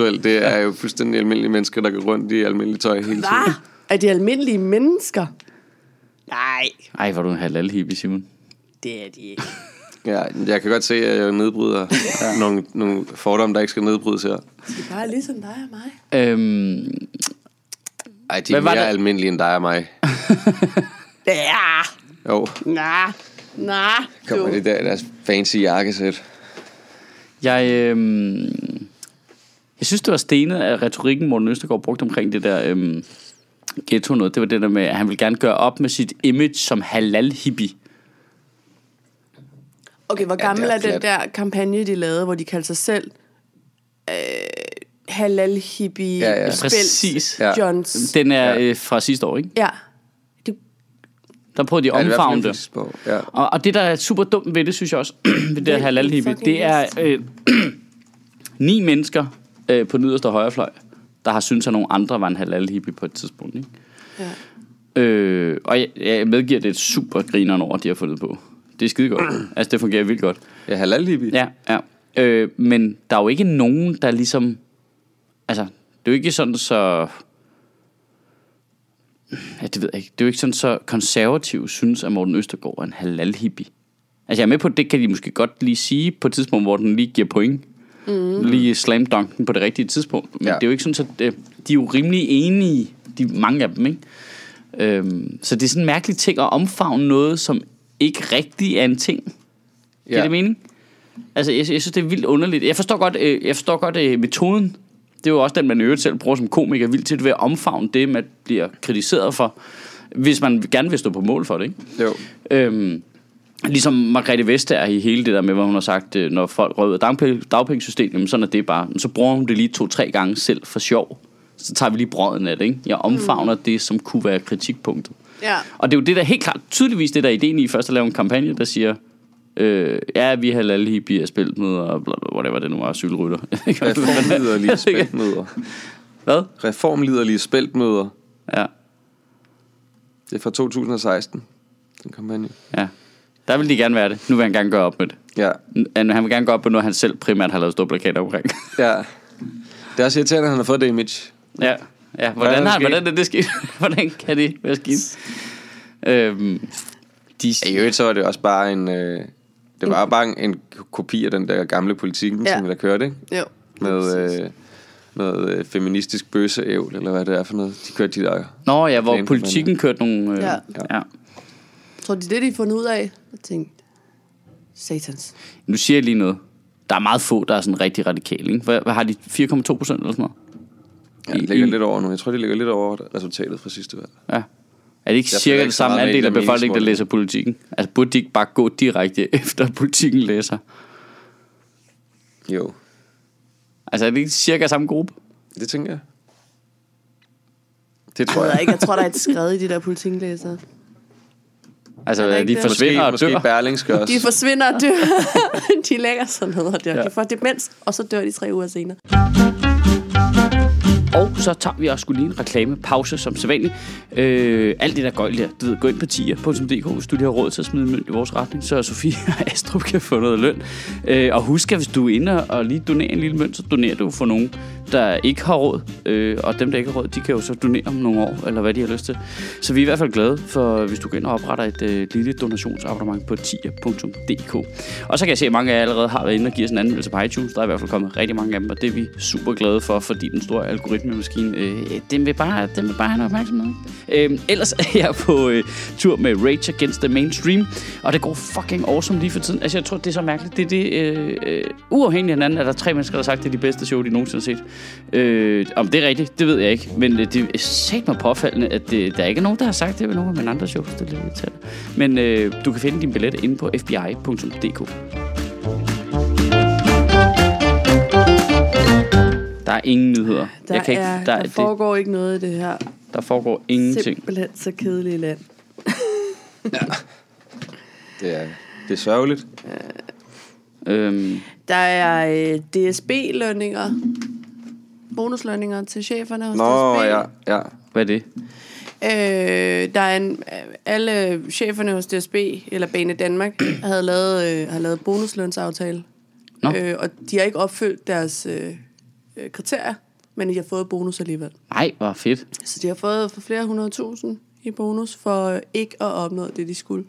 ligesom
Øhm, øhm, øhm,
øh, halal hippie
Ja, ja.
Præcis.
Ja.
Johns.
Den er øh, fra sidste år, ikke?
Ja. Det,
Der prøver de at
Ja, det er i hvert fald
omfavne
en
det.
fysisk bog, Ja.
Og, og det, der er super dumt ved det, synes jeg også, [clears throat] ved det her halal hippie,
fucking
det er øh, [clears throat] ni mennesker øh, på den yderste højrefløj, der har syntes, at nogle andre var en halal hippie på et tidspunkt. Ikke? Ja. Øh, og jeg, jeg medgiver, det er et super grineren over, de har fundet på. Det er skide godt. altså, det fungerer vildt godt.
Ja, halal hippie.
Ja, ja. Øh, men der er jo ikke nogen, der ligesom... Altså, det er jo ikke sådan så... Ja, det ved jeg ikke. Det er jo ikke sådan så konservativt, synes, at Morten Østergaard er en halal hippie. Altså, jeg er med på, at det kan de måske godt lige sige på et tidspunkt, hvor den lige giver point. Mm. Lige slam dunken på det rigtige tidspunkt. Men ja.
Ja.
det er jo ikke sådan, så øh, de er jo rimelig enige, de, mange af dem, ikke? Øhm, så det er sådan en mærkelig ting at omfavne noget, som ikke rigtig er en ting. Giver
Ja.
det mening? Altså, jeg, jeg synes, det er vildt underligt. Jeg forstår godt, øh, jeg forstår godt øh, metoden. Det er jo også den, man i øvrigt selv bruger som komiker vildt til ved at omfavne det, man bliver kritiseret for, hvis man gerne vil stå på mål for det, ikke?
Jo.
Øhm, ligesom Margrethe Vestager i hele det der med, hvad hun har sagt, øh, når folk røver dagpenge, dagpengesystemet, jamen sådan er det bare. Men så bruger hun det lige to-tre gange selv for sjov. Så tager vi lige brøden af det, ikke? Jeg omfavner mm. det, som kunne være kritikpunktet.
ja.
Og det er jo det, der helt klart tydeligvis det, der er ideen i først at lave en kampagne, der siger, øh, ja, vi har alle hippie er spillet med, og bla, bla, whatever det nu var, asylrytter. [laughs]
Reformliderlige spæltmøder.
Hvad?
Reformliderlige spæltmøder.
Ja,
Det er fra 2016, den kampagne.
ja. Der vil de gerne være det. Nu vil han gerne gøre op med det.
Ja,
Han- Han vil gerne gøre op med noget, han selv primært har lavet store plakater omkring. [laughs]
ja. Det er også irriterende, at han har fået det image.
Ja, ja. Hvordan,
det
har,
sket?
hvordan er det sket? [laughs] hvordan kan det være sket? Øhm, de,
Ja, I øvrigt så var det også bare en... Øh, det var bare en, en kopi af den der gamle politikken,
Ja.
ja. som vi der kørte, ikke?
Jo.
Med øh, noget øh, feministisk bøseævl, eller hvad det er for noget. De kørte de der...
nå ja, hvor
Plan-
politikken kørte nogle... Øh, ja.
Ja.
ja.
Tror de, det er det, de har fundet ud af? Jeg tænkte, satans.
Nu siger jeg lige noget. Der er meget få, der er sådan rigtig radikale. Ikke? Hvad, hvad har de? 4,2 procent eller sådan noget?
Ja,
I-
det ligger
i-
lidt over nu. Jeg tror, det ligger lidt over resultatet fra sidste valg.
Ja. Er det ikke
Jeg følger
cirka
ikke
det
så
samme
meget med i
andel
de
af
der
befolkningen, der
meningsmålinger.
læser politikken? Altså burde de ikke bare gå direkte [laughs] efter at politikken læser?
Jo,
Altså er det ikke cirka samme gruppe?
det tænker jeg. Det
Jeg
tror
ved
jeg.
ikke, jeg tror, der er et skred i de der politiklæsere.
Altså
Er der
er
ikke
de
det?
forsvinder
måske,
og dør?
måske Berlingske også.
De forsvinder og dør. [laughs] de lægger sig ned og dør.
Ja.
Ja. De får demens, og så dør de tre uger senere.
Og så tager vi også skulle lige en reklamepause, som sædvanligt. Øh, alt det der gøjl der, du ved, gå ind på tier.dk, hvis du lige har råd til at smide en mønt i vores retning, så Sofie og [laughs] Astrup kan få noget løn. Øh, og husk, at hvis du er inde og- og lige donerer en lille mønt, så donerer du for nogen, der ikke har råd. Øh, og dem, der ikke har råd, de kan jo så donere om nogle år, eller hvad de har lyst til. Så vi er i hvert fald glade, for hvis du går ind og opretter et øh, lille donationsabonnement på tier.dk. Og så kan jeg se, at mange af jer allerede har været inde og giver os en anmeldelse på iTunes. Der er i hvert fald kommet rigtig mange af dem, og det er vi super glade for, fordi den store algoritmemaskine, øh, den, vil bare, den vil bare have noget opmærksomhed. ikke? Øh, ellers er jeg på øh, tur med Rage Against the Mainstream, og det går fucking awesome lige for tiden. Altså, jeg tror, det er så mærkeligt. Det er det, øh, øh, uafhængigt af hinanden, er der tre mennesker, der har sagt, det er de bedste show, de nogensinde har set. Øh, om det er rigtigt, det ved jeg ikke, men øh, det er sæt mig påfaldende, at det, der er ikke er nogen, der har sagt det ved nogen af mine andre shows. Det er lidt irriterende. Men øh, du kan finde din billet inde på fbi.dk. Der er ingen nyheder.
Der,
jeg kan ikke,
er,
der,
der,
er
der
det,
foregår ikke noget i det her
der foregår ingenting.
simpelthen så kedelige land.
Det er, det er sørgeligt.
Øhm,
Der er øh, DSB-lønninger. Bonuslønninger til cheferne hos
Nå,
DSB.
ja, ja.
hvad er det?
Øh, der er en, alle cheferne hos DSB, eller Bane Danmark, [clears throat] havde lavet, øh, har lavet bonuslønsaftale.
Nå.
Øh, og de har ikke opfyldt deres øh, øh, kriterier, men de har fået bonus alligevel.
Nej, hvor fedt.
Så de har fået for flere hundrede tusind i bonus for øh, ikke at opnå det, de
[laughs]
skulle.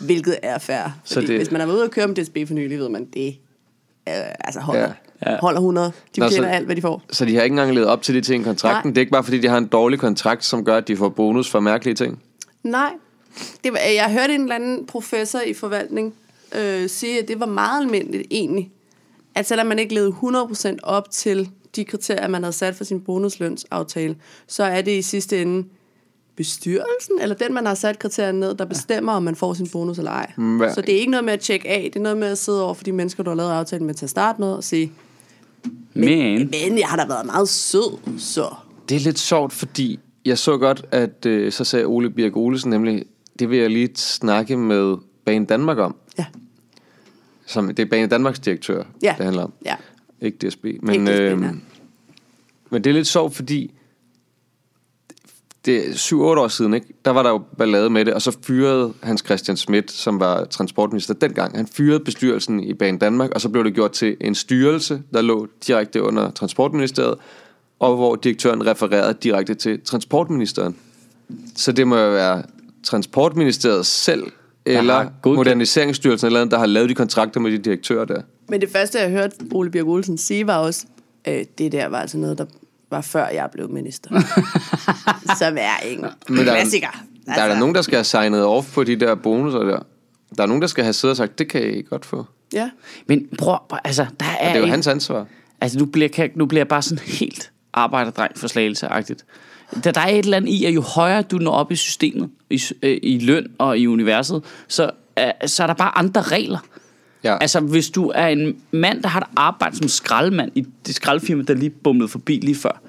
Hvilket er fair.
Så
Fordi
det-
Hvis man har været ude og køre med DSB for nylig, ved man, det øh, altså holder.
Ja.
Ja.
Ja.
Holder 100. De
Nå,
betaler
så-
alt, hvad de får.
Så de har ikke engang levet op til det ting i kontrakten.
Nej.
Det er ikke bare fordi, de har en dårlig kontrakt, som gør, at de får bonus for mærkelige ting.
Nej. Det var, jeg hørte en eller anden professor i forvaltning øh, sige, at det var meget almindeligt egentlig, at selvom man ikke levede 100% op til de kriterier, man havde sat for sin bonuslønsaftale, så er det i sidste ende bestyrelsen, eller den, man har sat kriterierne ned, der bestemmer, om man får sin bonus eller ej.
Hver-
Så det er ikke noget med at tjekke af, det er noget med at sidde over for de mennesker, du har lavet aftalen med til at starte med, og sige,
Men,
Men jeg har da været meget sød, så.
Det er lidt sjovt, fordi jeg så godt, at øh, så sagde Ole Birk Olesen nemlig, det vil jeg lige snakke med Bane Danmark om.
Ja.
Som, det er Bane Danmarks direktør,
Ja.
det handler om.
Ja.
Ikke DSB. Men,
DSB,
øh,
nej.
men det er lidt sjovt, fordi det er 7-8 år siden, ikke? der var der jo ballade med det, og så fyrede Hans Christian Schmidt, som var transportminister dengang, han fyrede bestyrelsen i Banen Danmark, og så blev det gjort til en styrelse, der lå direkte under transportministeriet, og hvor direktøren refererede direkte til transportministeren. Så det må jo være transportministeriet selv, eller
har godkendt-
moderniseringsstyrelsen eller andet, der har lavet de kontrakter med de direktører der.
Men det første, jeg hørte Ole Birk Olsen sige, var også, øh, det der var altså noget, der var før jeg blev
[laughs]
minister. Som er en
Men der er-
klassiker. Altså,
Der er der nogen, der skal have signet off på de der bonusser der. Der er nogen, der skal have siddet og sagt, det kan I godt få. Og
Ja.
men prøv, altså, der er,
det er jo
ikke-
hans ansvar.
Altså, nu bliver, kan, nu bliver jeg bare sådan helt arbejderdreng for slagelse-agtigt. Der, der er et eller andet i, at jo højere du når op i systemet, i, s- øh, i løn og i universet, så, øh, så er der bare andre regler.
Ja.
Altså, hvis du er en mand, der har et arbejde som skraldemand i det skraldfirma, der lige bumlede forbi lige før,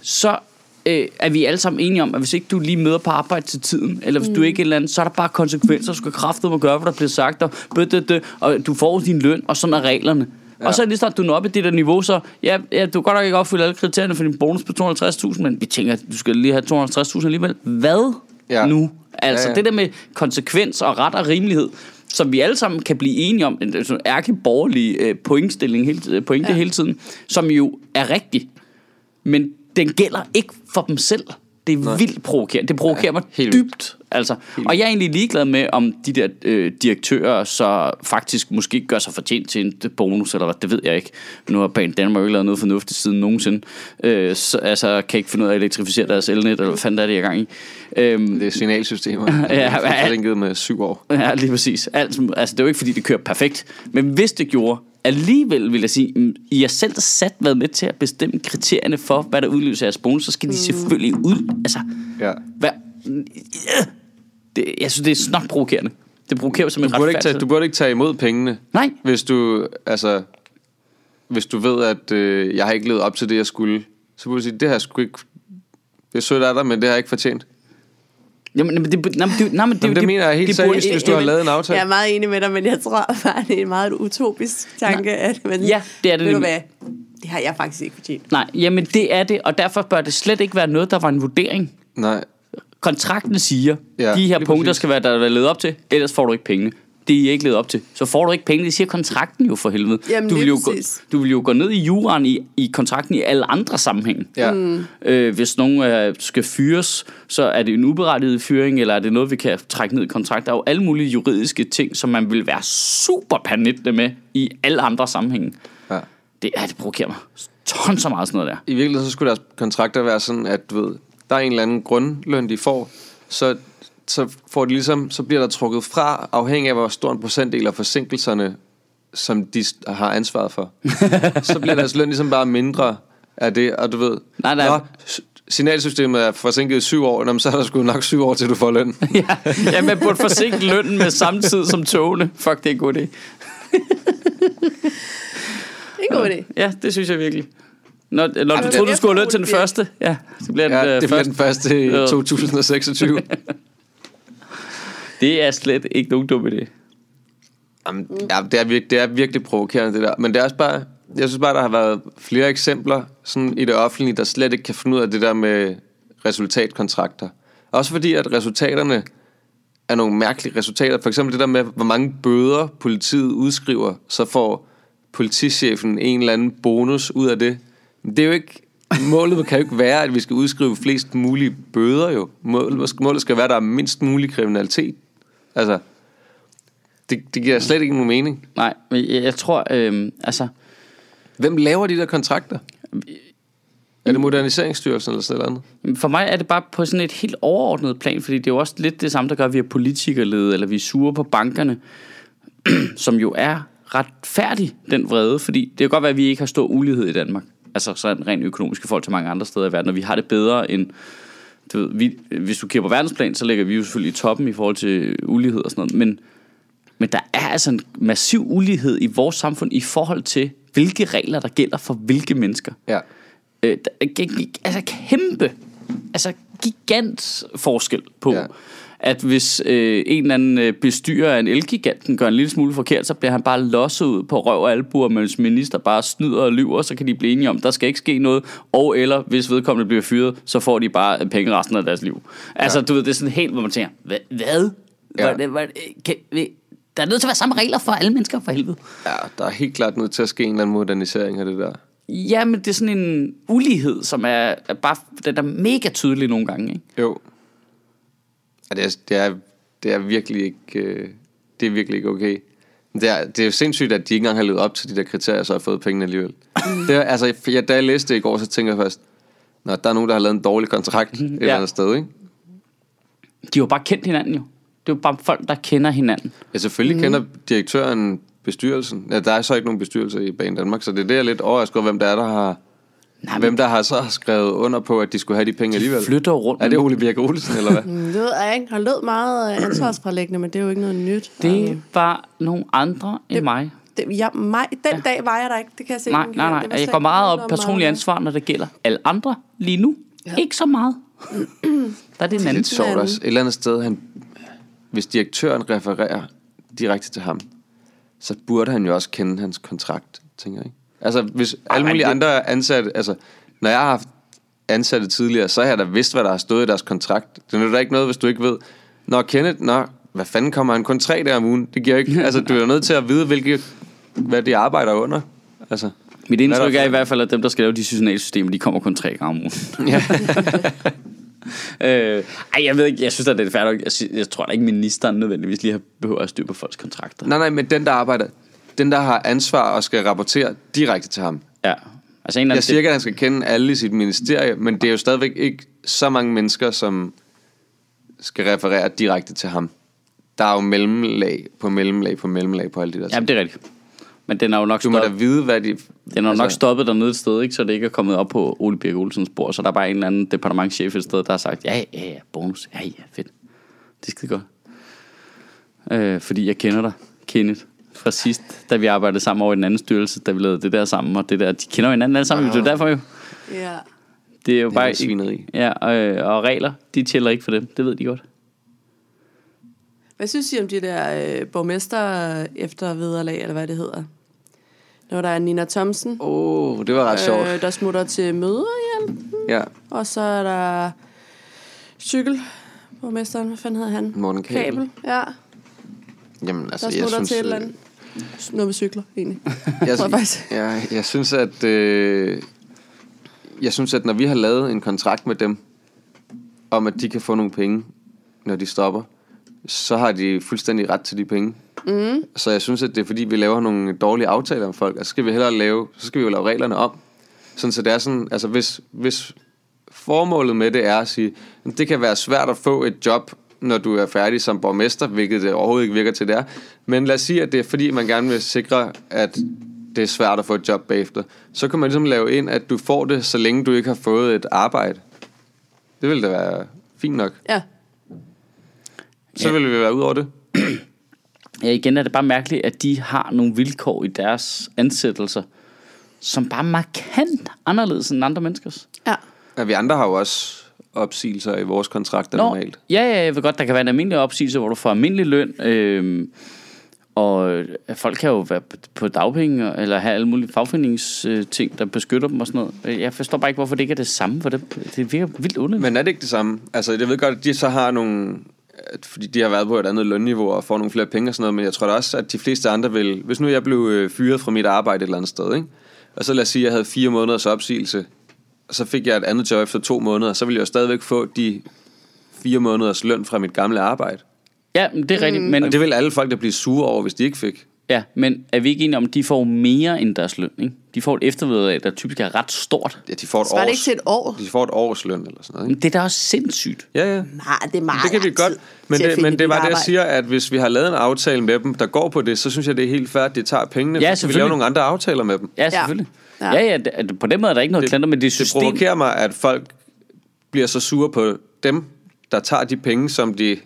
så øh, er vi alle sammen enige om, at hvis ikke du lige møder på arbejde til tiden, eller hvis mm. du ikke er et eller andet, så er der bare konsekvenser, du skal kraftedeme gøre, hvad der bliver sagt, og, bødødø, og du får din løn, og sådan er reglerne. Ja. Og så lige snart du når op i det der niveau, så ja, ja, du kan godt nok ikke opfylde alle kriterierne for din bonus på 250.000, men vi tænker, at du skal lige have 250.000 alligevel. Hvad ja.
Ja.
nu? Altså ja, ja.
Ja, ja.
det der med konsekvens og ret og rimelighed, som vi alle sammen kan blive enige om, en sådan ærkeborgerlig øh, pointstilling, hele, øh, pointe ja.
Ja.
hele tiden, som jo er rigtig. Men den gælder ikke for dem selv. Det er Nej. vildt provokerende. Det provokerer ja, mig
helt vildt.
dybt. Altså. Og jeg er egentlig ligeglad med, om de der øh, direktører så faktisk måske gør sig fortjent til en bonus, eller hvad, det ved jeg ikke. Nu har Banen Danmark jo ikke lavet noget fornuftigt siden nogensinde. Øh, så, altså, kan ikke finde ud af at elektrificere deres elnet, eller hvad fanden er det, jeg er i gang i. Øhm,
Det er
[laughs]
signalsystemer.
Ja,
ja,
hvad-
hvad? Det er givet med syv år.
[laughs] Ja, lige præcis. Alt, som- altså, det er jo ikke, fordi det kører perfekt. Men hvis det gjorde, alligevel vil jeg sige, mm, I har selv sat været med til at bestemme kriterierne for, hvad der udløser jeres bonus, så skal de selvfølgelig ud. Altså,
Ja.
hvad? [laughs] Ja. Det, jeg synes, det er snart provokerende. Det provokerer mig som en
Du burde, ikke tage, du burde ikke tage imod pengene.
Nej.
Hvis du, altså, hvis du ved, at øh, jeg har ikke levet op til det, jeg skulle, så burde du sige, det her skulle ikke... Det er sødt af dig, men det har jeg ikke fortjent.
Jamen, men det, nej, men det, nej, men det,
Jamen, det mener jeg helt
burde-
seriøst, hvis du har
Jamen,
lavet en aftale.
Jeg er meget enig med dig, men jeg tror bare, det er en meget utopisk tanke. At man,
Ja, det er det
Ved du hvad?
nemlig.
Det har jeg faktisk ikke fortjent.
Nej, jamen det er det, og derfor bør det slet ikke være noget, der var en vurdering.
Nej.
kontrakten siger, ja,
Ja,
de her
lige
punkter
præcis.
skal være, der er levet op til, ellers får du ikke pengene. Det er I ikke levet op til. Så får du ikke penge, det siger kontrakten jo for helvede.
Jamen,
du, vil
lige
jo gå,
præcis.
du vil jo gå ned i juraen i, i kontrakten i alle andre sammenhænge.
Ja. Mm.
Øh, hvis nogen øh, skal fyres, så er det en uberettiget fyring, eller er det noget, vi kan trække ned i kontrakten. Der er jo alle mulige juridiske ting, som man vil være super panittende med i alle andre sammenhænge.
ja.
Det, ja, det provokerer mig tons så meget sådan
[laughs]
noget der.
I virkeligheden så skulle deres kontrakter være sådan, at du ved, der er en eller anden grundløn, de får, så, så, får de ligesom, så bliver der trukket fra, afhængig af hvor stor en procentdel af forsinkelserne, som de s- har
[laughs]
ansvaret for. så bliver deres løn ligesom bare mindre af det, og du ved,
Nej, nej.
Nå, s- signalsystemet er forsinket i syv år, jamen, så er der sgu nok syv år, til du får
[laughs]
løn.
Ja, ja man burde forsinke lønnen med samme tid som togene. Fuck, det er en god idé.
Det er en god idé.
Ja, det synes jeg virkelig. Når, når du
det-
troede, du skulle have løn til den første, ja, så bliver den,
Ja,
ja,
det
det,
bliver
øh, først.
den første i
Ja. [laughs]
2026.
det er slet ikke nogen dum idé.
Jamen, ja, det, er virkelig, det er virkelig provokerende, det der. Men det er også bare, jeg synes bare, der har været flere eksempler sådan i det offentlige, der slet ikke kan finde ud af det der med resultatkontrakter. Også fordi, at resultaterne er nogle mærkelige resultater. For eksempel det der med, hvor mange bøder politiet udskriver, så får politichefen en eller anden bonus ud af det. Men det er jo ikke... Målet kan jo ikke være, at vi skal udskrive flest mulige bøder jo. Målet, målet skal være, at der er mindst mulig kriminalitet. Altså, det, det giver slet ikke nogen mening.
Nej, men jeg, jeg tror, øh, altså,
Hvem laver de der kontrakter? Er det Moderniseringsstyrelsen eller sådan noget andet?
for mig er det bare på sådan et helt overordnet plan, fordi det er jo også lidt det samme, der gør, at vi er politikerlede, eller vi er sure på bankerne, [clears throat] som jo er retfærdig, den vrede, fordi det kan godt være, at vi ikke har stor ulighed i Danmark. Altså sådan rent økonomisk i forhold til mange andre steder i verden, og vi har det bedre end du ved, vi, hvis du kigger på verdensplan, så ligger vi jo selvfølgelig i toppen i forhold til ulighed og sådan noget, men, men der er altså en massiv ulighed i vores samfund i forhold til hvilke regler, der gælder for hvilke mennesker.
Ja.
Øh, der, er g- g- altså kæmpe, altså gigant forskel på,
Ja.
ja. at hvis øh, en eller anden øh, bestyrer af en elgiganten gør en lille smule forkert, så bliver han bare losset ud på røv og albuer, mens minister bare snyder og lyver, så kan de blive enige om, der skal ikke ske noget, og eller hvis vedkommende bliver fyret, så får de bare øh, penge resten af deres liv. Altså, ja. du ved, det er sådan helt, hvor man tænker, "Hva- hvad?
Ja.
Ja. Hvad, kan, vi- der er nødt til at være samme regler for alle mennesker, for helvede.
ja, der er helt klart nødt til at ske en eller anden modernisering af det der.
Ja, men det er sådan en ulighed, som er, er bare, den er mega tydelig nogle gange, ikke?
Jo. Ja, det, er, det, er, det er virkelig ikke... øh, Det er virkelig ikke okay. Det er, det er jo sindssygt, at de ikke engang har levet op til de der kriterier, så har fået pengene alligevel. Det er, altså, jeg, da jeg læste det i går, så tænker jeg først, Nå, der er nogen, der har lavet en dårlig kontrakt et eller andet sted, ikke?
De har jo bare kendt hinanden jo. Det er jo bare folk, der kender hinanden.
Ja, selvfølgelig mm. kender direktøren bestyrelsen. Ja, der er så ikke nogen bestyrelse i Banen Danmark, så det er det, jeg er lidt overrasket over, hvem der er, der har...
Nej, men-
hvem der har så skrevet under på, at de skulle have de penge alligevel.
flytter jo rundt
Er det
med-
Ole Birk Olsen, eller hvad?
Mm, Det ved jeg ikke. Han lød meget
[clears throat]
øh, ansvarsfralæggende, men det er jo ikke noget nyt. Og øh,
Det var nogle andre end det, mig.
Det, ja, mig, den ja. dag var jeg der ikke, det kan jeg se.
Nej,
den
nej,
kalender.
nej.
Det var
Jeg
slet
går meget
ikke
op i
noget
personlig
om mig.
ansvar, når det gælder alle andre lige nu. Ja. Ikke så meget. der er det en anden.
lidt sjovt
anden.
også. Et eller andet sted, han, hvis direktøren refererer direkte til ham, så burde han jo også kende hans kontrakt, tænker jeg. ikke? Altså, hvis alle
men
mulige
det-
andre ansatte... Altså, når jeg har haft ansatte tidligere, så har jeg da vidst, hvad der har stået i deres kontrakt. Det er jo da ikke noget, hvis du ikke ved... Nå, Kenneth, nå, hvad fanden kommer han kun tre dage om ugen? Det giver jo ikke... Altså, du er jo nødt til at vide, hvilke, hvad de arbejder under. Altså,
Mit
Hvad
indtryk
der
er
for-
i hvert fald, at dem, der skal lave de signalsystemer, de kommer kun tre gange om ugen. [laughs]
Ja.
øh, ej, jeg ved ikke, jeg synes, at det er færdigt. Jeg, sy- jeg tror da ikke, ministeren nødvendigvis lige har behøver at have styr på folks kontrakter.
nej, nej, men den, der arbejder... Den, der har ansvar og skal rapportere direkte til ham.
Ja. Altså en eller anden
Jeg siger ikke, at han skal kende alle i sit ministerie, men det er jo stadigvæk ikke så mange mennesker, som skal referere direkte til ham. Der er jo mellemlag på mellemlag på mellemlag på alle de der ting.
Jamen, det er rigtigt. Men den er jo nok,
Du må da
stoppet,
vide, hvad de...
den er jo nok stoppet dernede et sted, ikke? så det ikke er kommet op på Ole Birk Olsens bord. Så der er bare en eller anden departementchef et sted, der har sagt, ja, ja, ja, bonus. Ja, ja, fedt. Det er skide godt. Øh, fordi jeg kender dig, Kenneth, fra sidst, da vi arbejdede sammen over i den anden styrelse, da vi lavede det der sammen, og det der, de kender jo hinanden alle sammen, det er jo derfor jo.
Ja.
Det er jo
er
bare...
noget svineri.
Ja, og, og regler, de tæller ikke for dem, det ved de godt.
Hvad synes I om de der øh, borgmester efter vederlag, eller hvad det hedder? Når der er Nina Thomsen,
Åh, oh, det var ret sjovt.
øh, der smutter til møderhjælp,
Ja.
og så er der cykelborgmesteren, hvad fanden hedder han?
Morten Kabel.
ja.
Jamen, altså,
Der
jeg
smutter
synes...
til et eller
øh,
andet. Noget med cykler, egentlig.
jeg,
tror jeg faktisk.
jeg, jeg synes, at... Øh, jeg synes, at når vi har lavet en kontrakt med dem, om at de kan få nogle penge, når de stopper, så har de fuldstændig ret til de penge. Mm. Så jeg synes, at det er fordi, vi laver nogle dårlige aftaler om folk, og så skal vi hellere lave, så skal vi jo lave reglerne om. Sådan, så det er sådan, altså hvis, hvis formålet med det er at sige, "Men det kan være svært at få et job, når du er færdig som borgmester, hvilket det overhovedet ikke virker til, det er. Men lad os sige, at det er fordi, man gerne vil sikre, at det er svært at få et job bagefter. Så kan man ligesom lave ind, at du får det, så længe du ikke har fået et arbejde. Det ville da være fint nok.
Ja.
Så ja. ville vi være ud over det.
Ja, igen er det bare mærkeligt, at de har nogle vilkår i deres ansættelser, som bare er markant anderledes end andre menneskers.
Ja.
Ja, vi andre har jo også opsigelser i vores kontrakter normalt.
ja, ja, jeg ved godt, der kan være en almindelig opsigelse, hvor du får almindelig løn, øhm, og øh, folk kan jo være på- på dagpenge, og- eller have alle mulige fagforeningsting, der beskytter dem og sådan noget. Øh, Jeg forstår bare ikke, hvorfor det ikke er det samme for dem. Det virker vildt underligt.
Men er det ikke det samme? Altså, jeg ved godt, at de så har nogle... At, fordi de har været på et andet lønniveau og får nogle flere penge og sådan noget, men jeg tror da også, at de fleste andre vil... Hvis nu jeg blev øh, fyret fra mit arbejde et eller andet sted, ikke? og så lad os sige, at jeg havde fire måneders opsigelse, og så fik jeg et andet job efter to måneder, så ville jeg jo stadigvæk få de fire måneders løn fra mit gamle arbejde.
Ja, men det er rigtigt, men,
Og det vil alle folk, der blive sure over, hvis de ikke fik.
ja, men er vi ikke enige om, at de får mere end deres løn? Ikke? De får et eftervederlag, der typisk er ret stort.
Ja, de får et,
Var det
års,
ikke til et år?
de får et års løn eller sådan noget. Ikke?
Men det er da også sindssygt.
Ja, ja.
Nej, Ah, det er meget
Det kan vi
lang tid
godt, men
til at
det,
finde
men
et
det
nyt
var det, jeg
arbejde.
siger, at hvis vi har lavet en aftale med dem, der går på det, så synes jeg, det er helt fair, at de tager pengene,
Ja,
for så kan vi laver
selvfølgelig.
nogle andre aftaler med dem.
Ja, selvfølgelig.
Ja.
Ja, ja, ja det, altså, på den måde er der ikke noget klanter, men det er
det
system.
provokerer mig, at folk bliver så sure på dem, der tager de penge, som de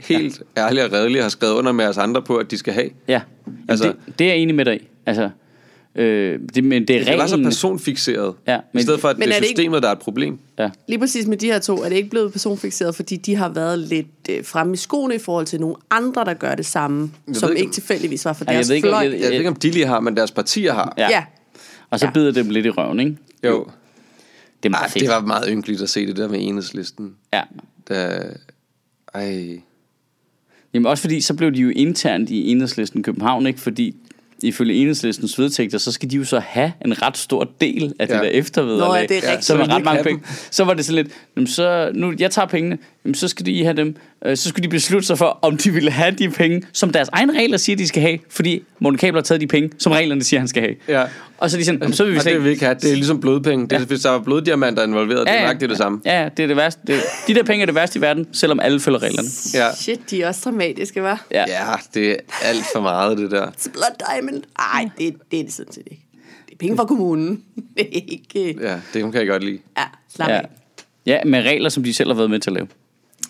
helt ja. ærligt og redeligt har skrevet under med os andre på, at de skal have.
Ja, altså,
Altså-
det, det er jeg enig med dig i. Altså, Øh, det, men det er
Det var så
reglen.
personfixeret.
Ja,
men,
men-
I stedet for, at
Men
det
er
er
det ikke-
systemet, der er et problem.
Ja.
Lige præcis med de her to er det ikke blevet personfixeret, fordi de har været lidt øh, fremme i skoene i forhold til nogle andre, der gør det samme,
Jeg
som
ved
ikke,
ikke-
tilfældigvis var for
Ej, jeg
deres
ved ikke, om
fløj.
jeg-
Jeg ved ikke, om de lige har, men deres partier har.
Ja.
ja.
Og så
Ja.
bider det dem lidt i røven, ikke?
Jo.
Det er meget
Ej,
fedt.
det var meget ynkeligt at se det der med enhedslisten.
Ja.
Da... Ej.
Jamen også fordi, så blev de jo internt i Enhedslisten København, ikke? Fordi ifølge Enhedslistens vedtægter, så skal de jo så have en ret stor del af det
Ja.
der eftervederlag.
Nå, ja, det er rigtigt.
Så,
Så
var
vil de
ret
ikke
mange
have
penge. så var det sådan lidt, jamen så, nu, jeg tager pengene, jamen så skal de have dem. Øh, Så skulle de beslutte sig for, om de ville have de penge, som deres egne regler siger, de skal have. Fordi Morten Kabler har taget de penge, som reglerne siger, han skal have.
Ja.
Og så er de sådan, jamen, så vil vi
Ej,
slet
det vil vi ikke have. Det er ligesom blodpenge. Det er, Hvis der var bloddiamanter involveret, det er nok det, det samme.
Ja, ja, det er det værste. Det, de der penge er det værste i verden, selvom alle følger reglerne.
Ja.
Shit, de er også dramatiske, var.
Ja. ja.
Ja, det er alt for meget, det der.
It's a blood diamond. Ej, det, det er det sådan set ikke. Det er penge fra kommunen. [laughs] Det er ikke...
Ja, det kan jeg godt lide.
Ja, slap
Ja.
af.
ja, med regler, som de selv har været med til at lave.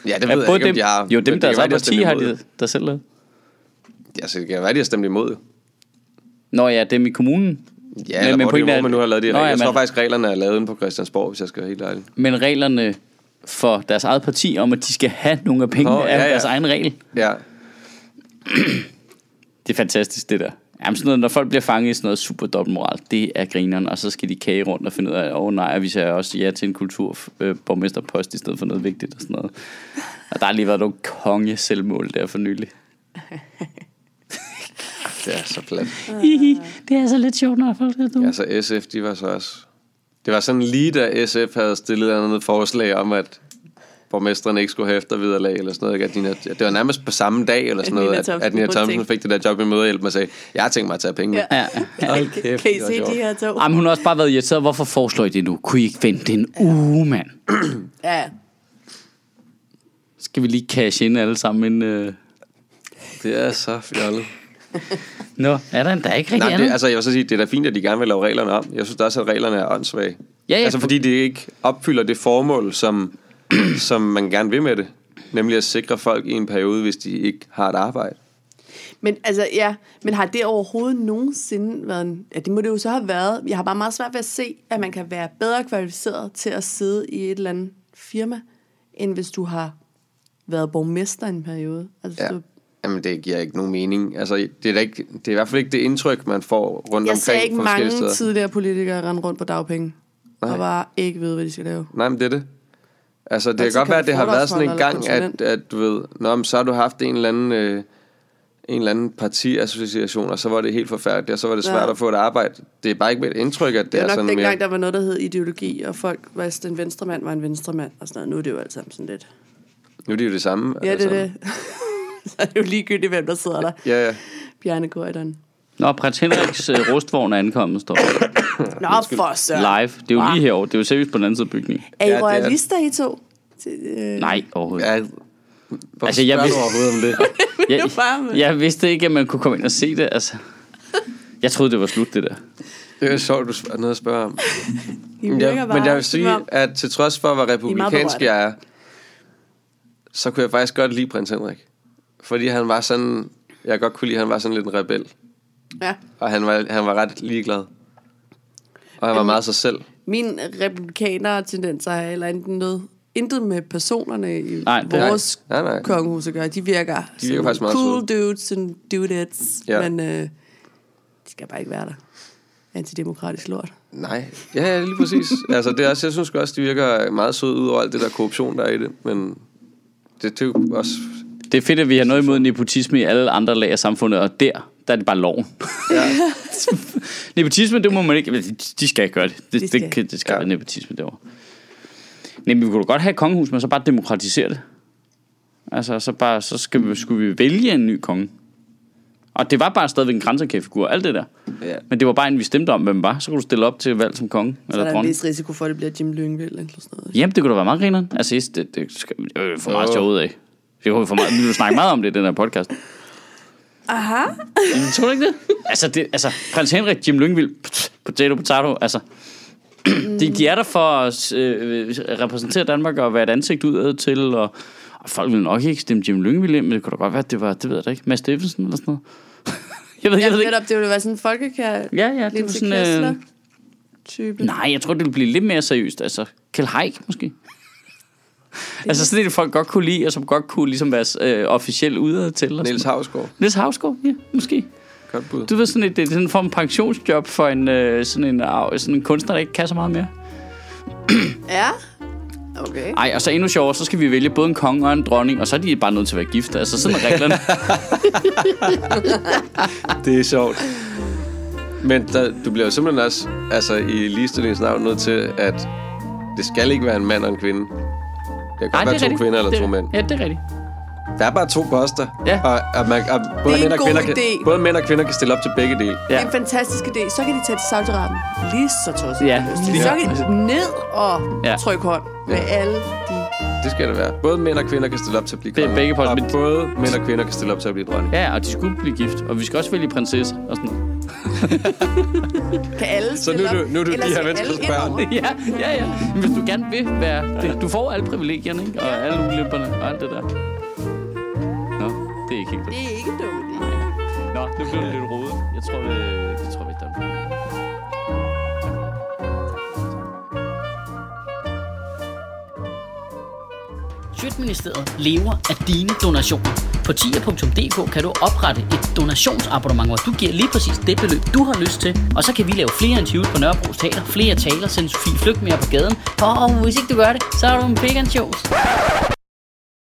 Ja, det ved
Ja,
jeg
både
ikke,
dem,
om de har.
jo,
men
dem,
det
der
kan
er
være,
var parti,
stemt
har
imod.
de der selv lavet.
Altså, det kan være, de har stemt imod.
Nå ja, dem i kommunen.
Ja, men, eller hvor, det,
pointen
er,
er-
hvor man nu har lavet de
Nå,
regler.
ja,
jeg tror
man-
faktisk, reglerne er lavet inde på Christiansborg, hvis jeg skal være helt ærlig.
Men reglerne for deres eget parti om, at de skal have nogle af pengene,
Nå,
oh, ja, er
ja,
jo
ja.
deres egen regel.
Ja,
Det er fantastisk, det der. Jamen sådan noget, når folk bliver fanget i sådan noget super dobbeltmoral, det er grineren, og så skal de kage rundt og finde ud af, åh oh, nej, og vi sagde også ja til en kulturborgmesterpost i stedet for noget vigtigt og sådan noget. Og der har lige været nogle konge selvmål der for nylig.
det er så plat.
Det er så lidt sjovt, når folk er dumme.
Ja, så SF, de var så også... Det var sådan lige da SF havde stillet et andet forslag om, at borgmesteren ikke skulle have efterviderlag eller sådan noget. ikke? At Nina, det var nærmest på samme dag eller sådan
At
noget,
Nina
at,
Thomsen
at Nina
burde
Thomsen
tænke-
fik det der job i møderhjælp og sagde, jeg har tænkt mig at tage penge.
Ja.
Ja.
Ja.
Hold
Kan,
kæft,
kan I
det var
se
sjovt.
de her to?
Jamen, hun har også bare været irriteret. Hvorfor foreslår I det nu? Kunne I ikke vente en uge, mand?
Ja.
Skal vi lige cash ind alle sammen inden... Øh...
Det er så fjollet.
Nå, er der en, der er ikke rigtig
Nej,
andet?
det, altså, jeg vil så sige, det er da fint, at de gerne vil lave reglerne om. Jeg synes da også, at reglerne er åndssvage.
Ja, ja.
Altså, fordi de ikke opfylder det formål, som, som man gerne vil med det. Nemlig at sikre folk i en periode, hvis de ikke har et arbejde.
Men altså, ja, men har det overhovedet nogensinde været en, ja, det må det jo så have været. Jeg har bare meget svært ved at se, at man kan være bedre kvalificeret til at sidde i et eller andet firma, end hvis du har været borgmester i en periode. Altså,
Ja.
ja. du,
Jamen, det giver ikke nogen mening. Altså, det er, da ikke, det er i hvert fald ikke det indtryk, man får rundt omkring
jeg ser ikke
fra forskellige
mange
steder.
tidligere politikere rende rundt på dagpenge, Nej. og bare ikke vide, hvad de skal lave.
Nej, men det er det. Altså, det
Altså,
kan godt
kan
være,
du
at det har været sådan en
forholdsforhold
gang,
eller
at, at du ved, Nå, men så har du haft en eller anden, øh, en eller anden partiassociation, og så var det helt forfærdeligt, og så var det svært
Ja.
ja. at få et arbejde. Det er bare ikke mit indtryk, at det,
Det
er
var
sådan
nok dengang,
mere...
mere... der var noget, der hed ideologi, og folk, hvis den venstremand var en venstremand, og sådan noget. Nu er det jo alt sammen sådan lidt.
Nu er det jo det samme. altså.
Ja, det er det. så er det [laughs] jo ligegyldigt, hvem der sidder der.
Ja, ja.
Bjarne Korydon.
altså-
Nå, prins Henriks øh, rustvogn er ankommet, står der.
Nå, for søren.
Live. Det er jo lige herovre. Det er jo seriøst på den anden side af bygningen.
Er I
Ja, det er-
royalister, I to? Til, øh,
Nej, overhovedet.
ja.
Altså,
Hvorfor altså,
jeg
jeg
vidste-
du overhovedet om
[laughs]
det?
Jeg,
bare med.
jeg vidste ikke, at man kunne komme ind og se det, altså. Jeg troede, det var slut, det der.
Det er sjovt, du har noget at spørge om.
I
Men
virker
jeg, men
bare,
jeg vil
som
sige,
om-
at til trods for, hvor republikansk
berørte.
jeg er, så kunne jeg faktisk godt lide prins Henrik. Fordi han var sådan... Jeg godt kunne lide, at han var sådan lidt en rebel.
Ja.
Og han var, han var ret ligeglad. Og han var meget sig selv.
Mine republikanere tendenser har heller enten noget, intet med personerne i
Nej, det er-
vores
Nej, nej.
kongehus at gøre. De virker, de
virker faktisk meget
cool dudes and dudettes, ja.
Ja.
men øh, de skal bare ikke være der. Antidemokratisk lort.
Nej. Ja, ja, lige præcis. altså, det er også, jeg synes sgu også, det virker meget sødt ud over alt det der korruption, der er i det. Men det, det er jo også...
Det er fedt, at vi har noget imod nepotisme i alle andre lag af samfundet, og der, der er det bare loven. Ja. [laughs] nepotisme, det må man ikke... altså, De skal ikke gøre det. Det,
De
det,
skal.
det, kan- det skal ja.
Ja.
være nepotisme derovre. Nej, men vi kunne da godt have et kongehus, men så bare demokratisere det. Altså, så, bare, så skal vi, skulle vi vælge en ny konge. Og det var bare stadigvæk en grænsekæftfigur, alt det der.
Ja.
Men det var bare en, vi stemte om, hvem var. Så kunne du stille op til valg som konge
Så er
eller
der en
dronning.
vis risiko for, at det bliver Jim Lyngvild eller sådan noget.
Jamen, det kunne da være meget grineren. Altså, det, det, det skal vi øh, for meget
Åh.
sjovt ud af. Vi kunne for meget, vi vil snakke meget om det i den her podcast.
Aha.
Jamen, Mm, Tror du ikke det? [laughs] Altså, det, altså prins Henrik, Jim Lyngvild, pff, potato, potato, altså... [clears throat] De, de er der for at øh, repræsentere Danmark og være et ansigt udad til, og, og folk ville nok ikke stemme Jim Lyngvild ind, men det kunne da godt være, at det var, det ved jeg da ikke, Mads Steffensen eller sådan noget. [laughs] Jeg ved, jeg
Ja,
ved ikke.
netop, det ville være sådan en folkekær...
Ja, ja, det var
Linse
sådan, øh,
Kessler type.
Nej, jeg tror, det ville blive lidt mere seriøst. Altså, Kjell Haik måske. altså sådan et, folk godt kunne lide, og som godt kunne ligesom være øh, officielt ude til.
Niels Havsgaard.
Niels Havsgaard, ja, måske.
Godt bud.
Du ved sådan et, det er sådan en form for pensionsjob for en, øh, sådan, en, øh, sådan en kunstner, der ikke kan så meget mere.
Ja? Okay.
Ej, og så endnu sjovere, så skal vi vælge både en konge og en dronning, og så er de bare nødt til at være gift. Altså sådan er [laughs] reglerne.
Det er sjovt. Men der, du bliver jo simpelthen også, altså i ligestillingens navn, nødt til, at det skal ikke være en mand og en kvinde. Det kan godt
Ej,
være to
rigtigt.
kvinder eller
det,
to mænd.
Ja, det er rigtigt.
Der er bare to poster.
Ja.
Og, og, man, og både,
en
mænd og
god
kvinder kan,
idé.
både mænd og kvinder kan stille op til begge dele.
Ja.
Ja. Det er en fantastisk idé. Så kan de tage til Saudi-Arabien. Lige så tosset.
Ja, lige
Så kan
præcis.
de ned og
Ja.
trykke hånd med alle de...
Det skal det være. Både mænd og kvinder kan stille op til at blive
Det er
konger,
begge poster,
Og
men-
både mænd og kvinder kan stille op til at blive dronning.
Ja, og de skulle blive gift, og vi skal også vælge prinsesse og sådan noget.
Kan alle
Så nu er
stille
du,
op?
nu er du
Eller
de her
skal
menneskers
alle
børn.
indover?
[laughs] Ja, ja, ja. Men hvis du gerne vil være... Det, du får alle privilegierne, ikke? Og alle ulemperne og alt det der. Nå, det er ikke helt
Det er ikke dumt. det.
Nå, nu blev det lidt rodet. Jeg tror, vi, jeg tror, vi er done.
Sjøtministeriet lever af dine donationer. På tier.dk kan du oprette et donationsabonnement, hvor du giver lige præcis det beløb, du har lyst til. Og så kan vi lave flere interviews på Nørrebro Teater, flere taler, sende Sofie Flygt mere på gaden. Og hvis ikke du gør det, så er du en pekanchos.